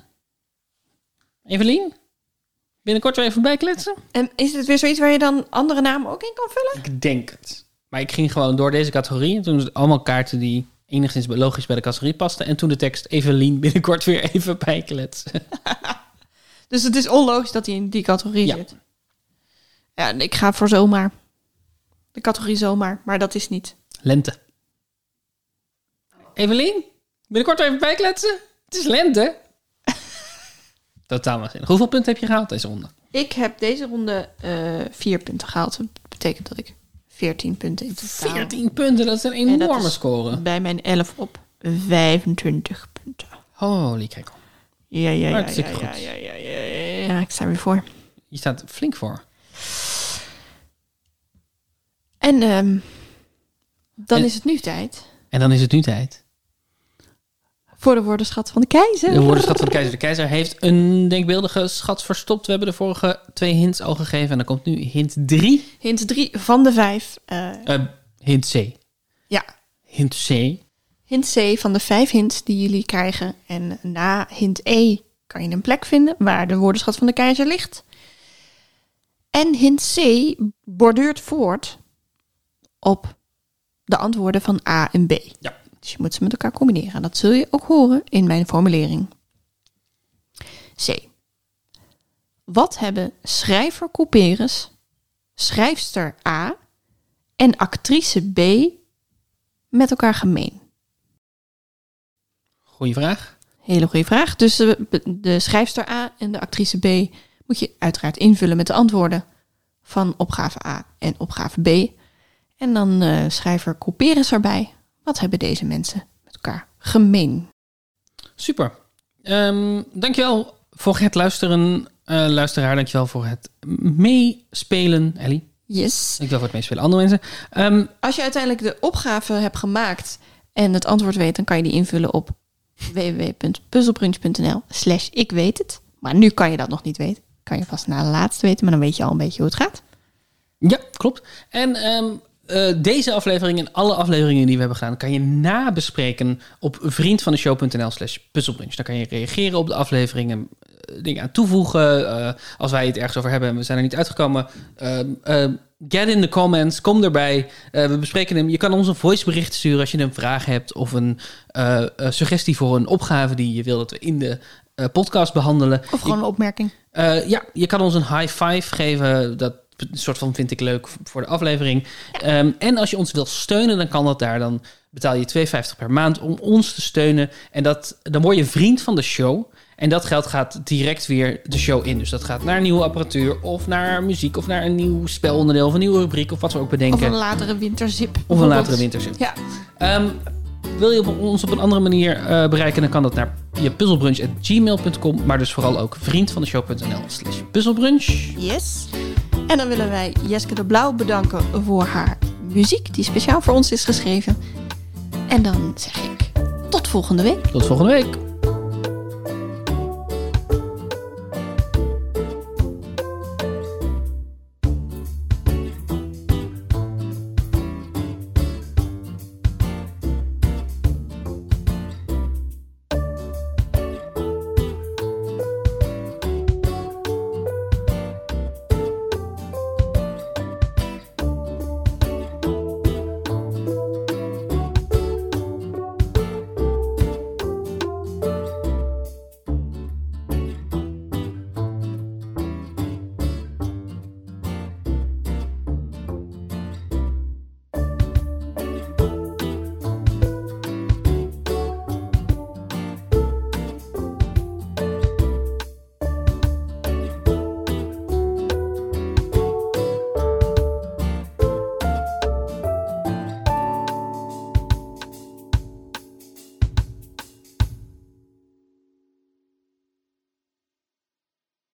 Speaker 2: Evelien? Binnenkort weer even bijkletsen?
Speaker 1: En is het weer zoiets waar je dan andere namen ook in kan vullen?
Speaker 2: Ik denk het. Maar ik ging gewoon door deze categorie. En toen was het allemaal kaarten die enigszins logisch bij de categorie pasten. En toen de tekst Evelien binnenkort weer even bijkletsen.
Speaker 1: Dus het is onlogisch dat hij in die categorie
Speaker 2: Ja.
Speaker 1: zit. Ja, en ik ga voor zomaar. De categorie zomaar, maar dat is niet.
Speaker 2: Lente. Evelien? Binnenkort weer even bijkletsen? Het is lente. Totaal waanzinnig. Hoeveel punten heb je gehaald deze ronde?
Speaker 1: Ik heb deze ronde eh, vier punten gehaald. Dat betekent dat ik 14 punten in totaal.
Speaker 2: 14 punten, dat is een
Speaker 1: En dat
Speaker 2: enorme
Speaker 1: is
Speaker 2: score.
Speaker 1: Bij mijn 11 op 25 punten.
Speaker 2: Holy kijk.
Speaker 1: Ja, ja, ja. Ja,
Speaker 2: Hartstikke
Speaker 1: ja,
Speaker 2: goed.
Speaker 1: ja, ja, ja, ja, ja, ik sta weer voor.
Speaker 2: Je staat flink voor.
Speaker 1: En ehm, dan
Speaker 2: En-
Speaker 1: is het nu tijd
Speaker 2: En dan is het nu tijd.
Speaker 1: voor de woordenschat van de keizer.
Speaker 2: De woordenschat van de keizer. De keizer heeft een denkbeeldige schat verstopt. We hebben de vorige twee hints al gegeven. En dan komt nu hint 3.
Speaker 1: Hint 3 van de 5. eh,
Speaker 2: Eh, hint C.
Speaker 1: ja,
Speaker 2: Hint C.
Speaker 1: hint C van de 5 hints die jullie krijgen. En na hint E kan je een plek vinden waar de woordenschat van de keizer ligt. En hint C borduurt voort op de antwoorden van A en B.
Speaker 2: Ja.
Speaker 1: Dus je moet ze met elkaar combineren. En Dat zul je ook horen in mijn formulering. C. Wat hebben schrijver Couperus, schrijfster A en actrice B met elkaar gemeen?
Speaker 2: Goeie vraag.
Speaker 1: Hele goede vraag. Dus de, de schrijfster A en de actrice B moet je uiteraard invullen met de antwoorden van opgave A en opgave B. En dan eh, schrijver Couperus erbij. Wat hebben deze mensen met elkaar gemeen?
Speaker 2: Super. Ehm, dankjewel voor het luisteren. eh luisteraar, dankjewel voor het meespelen. Ellie,
Speaker 1: Yes.
Speaker 2: dankjewel voor het meespelen. Andere mensen. Ehm,
Speaker 1: Als je uiteindelijk de opgave hebt gemaakt en het antwoord weet, dan kan je die invullen op www.puzzelbrunch.nl slash ik weet het. Maar nu kan je dat nog niet weten. Kan je pas na de laatste weten, maar dan weet je al een beetje hoe het gaat.
Speaker 2: ja, klopt. En ehm, eh, deze aflevering en alle afleveringen die we hebben gedaan... kan je nabespreken op vriendvandeshow.nl slash puzzelbrunch. Dan kan je reageren op de afleveringen, eh, dingen aan toevoegen. eh, als wij het ergens over hebben en we zijn er niet uitgekomen... ehm, ehm, Get in the comments, kom erbij. Eh, we bespreken hem. Je kan ons een voicebericht sturen als je een vraag hebt of een eh, eh, suggestie voor een opgave die je wil dat we in de eh, podcast behandelen.
Speaker 1: Of gewoon een opmerking.
Speaker 2: Eh, ja, je kan ons een high five geven. Dat soort van vind ik leuk voor de aflevering. Ehm, en als je ons wilt steunen, dan kan dat daar. Dan betaal je 2,50 per maand om ons te steunen. En dat, dan word je vriend van de show. En dat geld gaat direct weer de show in. Dus dat gaat naar nieuwe apparatuur of naar muziek of naar een nieuw spelonderdeel of een nieuwe rubriek of wat we ook
Speaker 1: Of
Speaker 2: bedenken.
Speaker 1: een latere winterzip.
Speaker 2: Of een latere
Speaker 1: bijvoorbeeld.
Speaker 2: winterzin.
Speaker 1: Ja,
Speaker 2: Ehm, wil je op- ons op een andere manier eh, bereiken, dan kan dat naar je puzzelbrunch.gmail.com. Maar dus vooral ook vriendvandeshow.nl slash puzzelbrunch.
Speaker 1: yes. En dan willen wij Jeske de Blauw bedanken voor haar muziek, die speciaal voor ons is geschreven. En dan zeg ik tot volgende week.
Speaker 2: Tot volgende week.